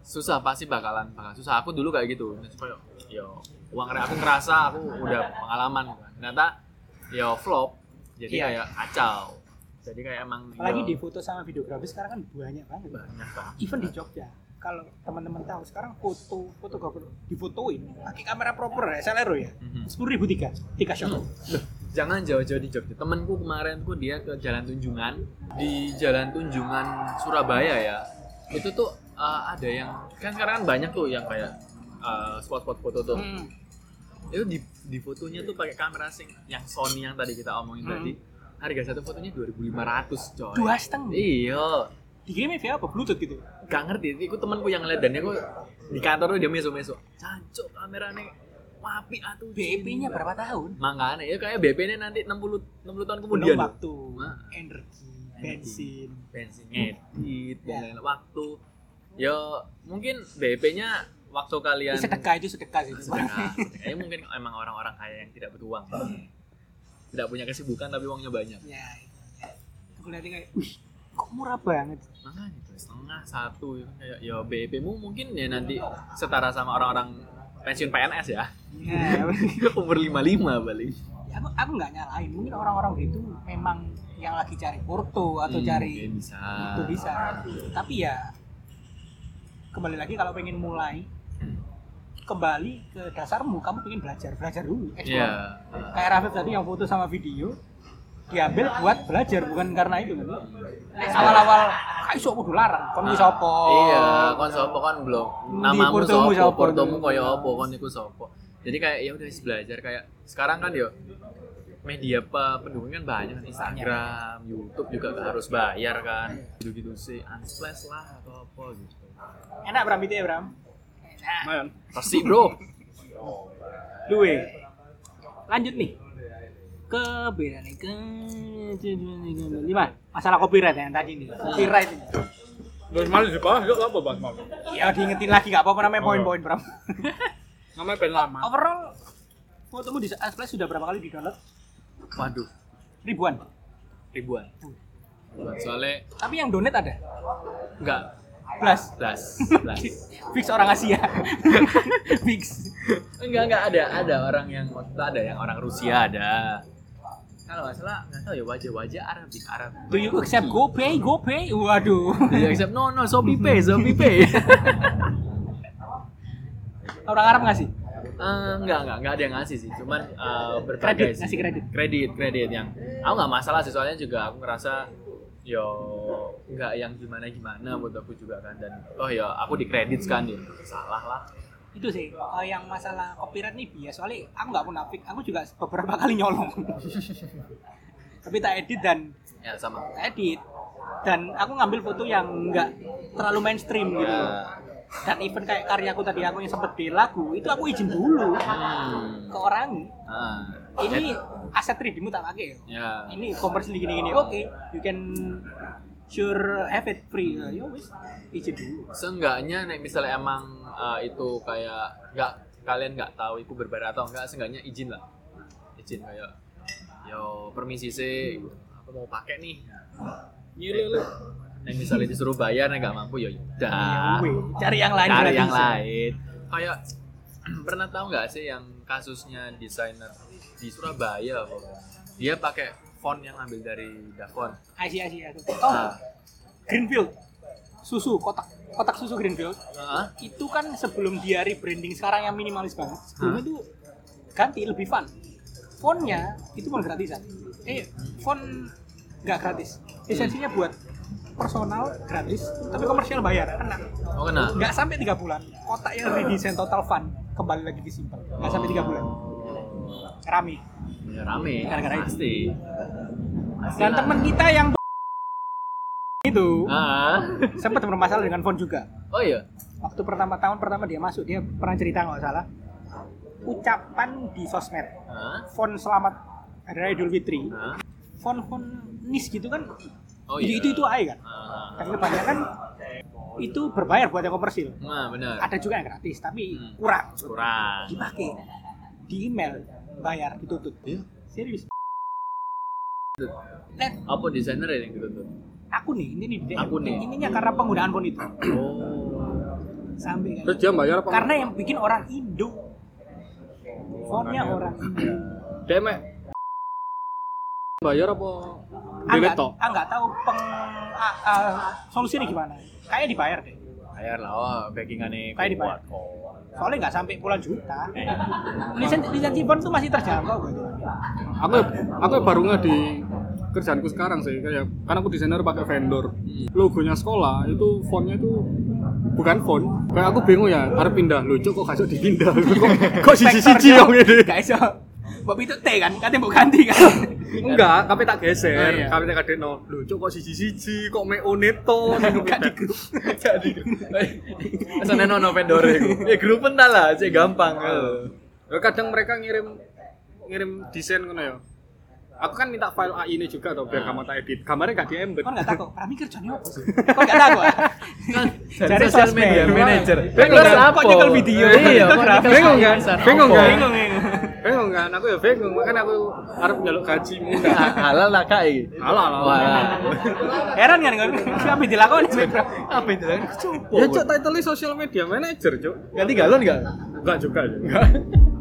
[SPEAKER 1] susah pasti bakalan bakal susah aku dulu kayak gitu supaya yo uang aku ngerasa aku udah pengalaman kan. ternyata yo flop jadi
[SPEAKER 2] Iya.
[SPEAKER 1] kayak kacau jadi kayak emang
[SPEAKER 2] apalagi
[SPEAKER 1] yo,
[SPEAKER 2] di foto sama videografi sekarang kan banyak banget
[SPEAKER 1] Iya. banyak kan. banget
[SPEAKER 2] even di Jogja kalau teman-teman tahu sekarang foto foto gak perlu difotoin pakai kamera proper ya SLR ya
[SPEAKER 1] Mhm.
[SPEAKER 2] sepuluh ribu tiga tiga shot
[SPEAKER 1] jangan jauh-jauh di Jogja. Temenku kemarin tuh dia ke Jalan Tunjungan di Jalan Tunjungan Surabaya ya. Itu tuh uh, ada yang kan sekarang kan banyak tuh yang kayak uh, spot-spot foto tuh.
[SPEAKER 2] Hmm.
[SPEAKER 1] Itu di, di fotonya tuh pakai kamera sing yang Sony yang tadi kita omongin
[SPEAKER 2] Hmm.
[SPEAKER 1] tadi. Harga satu fotonya 2.500 coy.
[SPEAKER 2] dua setengah
[SPEAKER 1] Iya.
[SPEAKER 2] dikirimnya via apa bluetooth gitu
[SPEAKER 1] Gak ngerti, itu temanku yang ngeliat dan aku di kantor tuh dia meso-meso. Cancuk kameranya wapi atuh.
[SPEAKER 2] BP
[SPEAKER 1] Iya.
[SPEAKER 2] nya berapa tahun
[SPEAKER 1] Makanya ya kayak BP-nya nanti 60 60 tahun kemudian.
[SPEAKER 2] belum waktu
[SPEAKER 1] Nah.
[SPEAKER 2] energi
[SPEAKER 1] Energi.
[SPEAKER 2] bensin
[SPEAKER 1] bensin ngedit dan lain-lain waktu ya mungkin BP-nya waktu kalian
[SPEAKER 2] Ini sedekah itu sedekah sih
[SPEAKER 1] Iya. sedekah sedekah. Ya, mungkin emang orang-orang kaya yang tidak butuh uang tidak punya kesibukan tapi uangnya banyak
[SPEAKER 2] ya aku lihat kayak wih kok murah banget
[SPEAKER 1] makanya itu setengah satu itu kayak ya BP mu mungkin ya nanti setara sama orang-orang pensiun PNS ya (laughs)
[SPEAKER 2] ya
[SPEAKER 1] umur 55 balik
[SPEAKER 2] aku aku nggak nyalain mungkin orang-orang itu memang yang lagi cari foto atau cari
[SPEAKER 1] mungkin bisa
[SPEAKER 2] itu bisa tapi ya kembali lagi kalau pengen mulai kembali ke dasarmu kamu pengen belajar belajar dulu
[SPEAKER 1] iya
[SPEAKER 2] explore. kayak Rafif tadi yang foto sama video diambil buat belajar bukan karena itu kan Nek awal-awal kayak iso kudu larang kon iso apa
[SPEAKER 1] Iya, kon sopo kon belum.
[SPEAKER 2] Di
[SPEAKER 1] Namamu
[SPEAKER 2] portomu
[SPEAKER 1] sopo,
[SPEAKER 2] sopo.
[SPEAKER 1] portomu koyo apa, kon iku sopo. Jadi kayak ya udah wis belajar kayak sekarang kan yo media pe- pendukung kan banyak Instagram, YouTube juga gak harus bayar kan. Gitu-gitu sih, unsplash lah atau apa gitu.
[SPEAKER 2] enak Bram itu ya Bram
[SPEAKER 3] lumayan
[SPEAKER 1] Pasti bro.
[SPEAKER 2] duwe lanjut nih ke beda nih ke lima masalah copyright yang tadi nih
[SPEAKER 1] Hmm.
[SPEAKER 2] copyright ini.
[SPEAKER 3] terus malah dibahas yuk apa bahas malu
[SPEAKER 2] ya diingetin lagi gak apa-apa namanya
[SPEAKER 1] iya.
[SPEAKER 3] Oh.
[SPEAKER 2] poin-poin Bram
[SPEAKER 1] (laughs)
[SPEAKER 3] namanya pen lama
[SPEAKER 2] overall fotomu di Unsplash sudah berapa kali di download?
[SPEAKER 1] Waduh,
[SPEAKER 2] Ribuan.
[SPEAKER 1] ribuan. Ribuan. Soalnya
[SPEAKER 2] Tapi yang donate ada.
[SPEAKER 1] enggak
[SPEAKER 2] Blas.
[SPEAKER 1] Las, las.
[SPEAKER 2] Fix orang Asia. (laughs) Fix.
[SPEAKER 1] (laughs) Enggak, enggak ada ada orang yang waktu itu ada yang orang Rusia ada. Kalau nggak salah, nggak tahu ya wajah-wajah Arabik Arab.
[SPEAKER 2] Do you accept GoPay? GoPay? Waduh.
[SPEAKER 1] Do you accept? No, no, Shopee Pay, Shopee
[SPEAKER 2] (laughs)
[SPEAKER 1] Pay.
[SPEAKER 2] Orang Arab nggak sih?
[SPEAKER 1] Eh, enggak, enggak, enggak ada yang ngasih sih. Cuman eh,
[SPEAKER 2] Kredit,
[SPEAKER 1] berbagai sih.
[SPEAKER 2] ngasih kredit.
[SPEAKER 1] Kredit, kredit yang aku nggak masalah sih soalnya juga aku ngerasa yo nggak yang gimana gimana buat aku juga kan dan oh ya aku dikredit kan ya salah lah
[SPEAKER 2] Itu sih eh, yang masalah copyright nih bias soalnya aku nggak munafik, aku juga beberapa kali nyolong. (laughs) Tapi tak edit dan
[SPEAKER 1] ya sama
[SPEAKER 2] tak edit dan aku ngambil foto yang nggak terlalu mainstream gitu.
[SPEAKER 1] ya
[SPEAKER 2] Dan even kayak karyaku tadi aku yang sempet di lagu itu aku izin dulu
[SPEAKER 1] hmm.
[SPEAKER 2] ke orang.
[SPEAKER 1] Ah.
[SPEAKER 2] Ini aset 3D-mu tak pakai ya.
[SPEAKER 1] ya
[SPEAKER 2] ini commerce gini gini oke you can sure have it free Ya, yo wis izin dulu
[SPEAKER 1] seenggaknya nek misalnya emang eh, itu kayak nggak kalian nggak tahu itu berbahaya atau enggak seenggaknya izin lah izin kayak yo permisi sih aku mau pakai nih
[SPEAKER 2] Iya,
[SPEAKER 3] Gila lu.
[SPEAKER 1] nek misalnya disuruh bayar nek nggak mampu ya udah
[SPEAKER 2] Weh, cari yang Iya, lain
[SPEAKER 1] cari
[SPEAKER 2] berarti.
[SPEAKER 1] yang lain kayak (clears throat) pernah tahu nggak sih yang kasusnya desainer di Surabaya kok dia pakai font yang ambil dari Davon
[SPEAKER 2] Asia Asia Asia. oh
[SPEAKER 1] Nah,
[SPEAKER 2] Greenfield susu kotak kotak susu Greenfield
[SPEAKER 1] heeh.
[SPEAKER 2] itu kan sebelum dia rebranding sekarang yang minimalis banget sebelumnya itu ganti lebih fun fontnya itu pun gratisan eh font nggak gratis esensinya buat personal gratis tapi komersial bayar enak
[SPEAKER 1] oh kena
[SPEAKER 2] nggak sampai tiga bulan kotak yang redesign total fun kembali lagi disimpan nggak sampai tiga bulan
[SPEAKER 1] Oh.
[SPEAKER 2] rame
[SPEAKER 1] ya, rame
[SPEAKER 2] Gara-gara itu. Kan
[SPEAKER 1] pasti Pasti
[SPEAKER 2] dan
[SPEAKER 1] lah.
[SPEAKER 2] teman kita yang itu
[SPEAKER 1] Ah. (laughs)
[SPEAKER 2] sempat bermasalah dengan font juga
[SPEAKER 1] Oh iya.
[SPEAKER 2] waktu pertama tahun pertama dia masuk dia pernah cerita nggak salah ucapan di sosmed
[SPEAKER 1] Hah?
[SPEAKER 2] font selamat hari raya Idul Fitri
[SPEAKER 1] Hah?
[SPEAKER 2] font font nis gitu kan
[SPEAKER 1] Oh
[SPEAKER 2] itu
[SPEAKER 1] iya.
[SPEAKER 2] itu itu aja kan
[SPEAKER 1] Ah.
[SPEAKER 2] tapi kebanyakan itu berbayar buat yang komersil
[SPEAKER 1] Nah, benar.
[SPEAKER 2] ada juga yang gratis tapi
[SPEAKER 1] Hmm.
[SPEAKER 2] kurang
[SPEAKER 1] Kurang.
[SPEAKER 2] dipakai di email bayar ditutup
[SPEAKER 1] Iya.
[SPEAKER 2] serius
[SPEAKER 1] Tuh.
[SPEAKER 2] Nah,
[SPEAKER 1] Apa desainer yang gitu tuh?
[SPEAKER 2] aku nih ini nih DM.
[SPEAKER 1] Aku nih.
[SPEAKER 2] ininya karena penggunaan pun itu
[SPEAKER 1] Oh.
[SPEAKER 2] sampai
[SPEAKER 3] Terus
[SPEAKER 2] kayak
[SPEAKER 3] dia bayar apa?
[SPEAKER 2] karena yang bikin orang Indo fontnya orang Indo
[SPEAKER 3] DM bayar apa?
[SPEAKER 2] Ah,
[SPEAKER 3] Delete
[SPEAKER 2] nggak-
[SPEAKER 3] tok.
[SPEAKER 2] ah, nggak tahu peng ah, ah, solusinya gimana kayaknya dibayar deh
[SPEAKER 1] Bayar lah, oh, backingannya
[SPEAKER 2] Kayak dibayar.
[SPEAKER 1] kuat. Oh.
[SPEAKER 2] soalnya nggak sampai puluhan juta lisensi lisensi font tuh masih terjangkau gitu
[SPEAKER 3] aku aku baru nggak di kerjaanku sekarang sih kayak karena aku desainer pakai vendor logonya sekolah itu fontnya itu bukan font kayak aku bingung ya harus pindah lucu kok kasih dipindah kok
[SPEAKER 2] (laughs)
[SPEAKER 3] kok siji siji Oh, yang ini
[SPEAKER 2] gak iso Bob itu T kan katanya mau ganti kan
[SPEAKER 3] enggak tapi tak
[SPEAKER 2] Oh,
[SPEAKER 3] geser
[SPEAKER 2] iya.
[SPEAKER 3] tapi tak kadek no lucu kok siji siji kok me
[SPEAKER 2] (laughs)
[SPEAKER 3] oneto
[SPEAKER 2] Gak di grup.
[SPEAKER 1] Jadi. Sana no no vendor iku. Ya grup entar lah, cek gampang.
[SPEAKER 3] Ya, kadang mereka ngirim ngirim desain ngono ya aku kan minta file AI ini juga toh biar kamu tak edit gambarnya gak di embed
[SPEAKER 2] Kon nggak takut, Rami kerjanya apa sih? Kon nggak takut? Cari
[SPEAKER 1] social
[SPEAKER 2] sosmed.
[SPEAKER 1] media manager.
[SPEAKER 3] Bingung
[SPEAKER 1] Terus
[SPEAKER 2] kan? Kok
[SPEAKER 1] apa?
[SPEAKER 2] nyekel video?
[SPEAKER 1] Iya, kok nyekel
[SPEAKER 3] Bingung
[SPEAKER 1] video?
[SPEAKER 3] kan?
[SPEAKER 1] Apa?
[SPEAKER 3] Bingung kan?
[SPEAKER 2] Bingung, bingung.
[SPEAKER 3] bingung kan aku ya bingung makanya aku harap nyaluk gajimu
[SPEAKER 1] Ah, Halal lah kak iki.
[SPEAKER 3] Halal, halal.
[SPEAKER 1] Wah.
[SPEAKER 2] Heran kan kon? Siapa yang dilakoni sih, Bro?
[SPEAKER 1] Apa itu? Coba.
[SPEAKER 3] Ya cok title social media manager cok
[SPEAKER 1] ganti galon enggak?
[SPEAKER 3] Enggak juga ya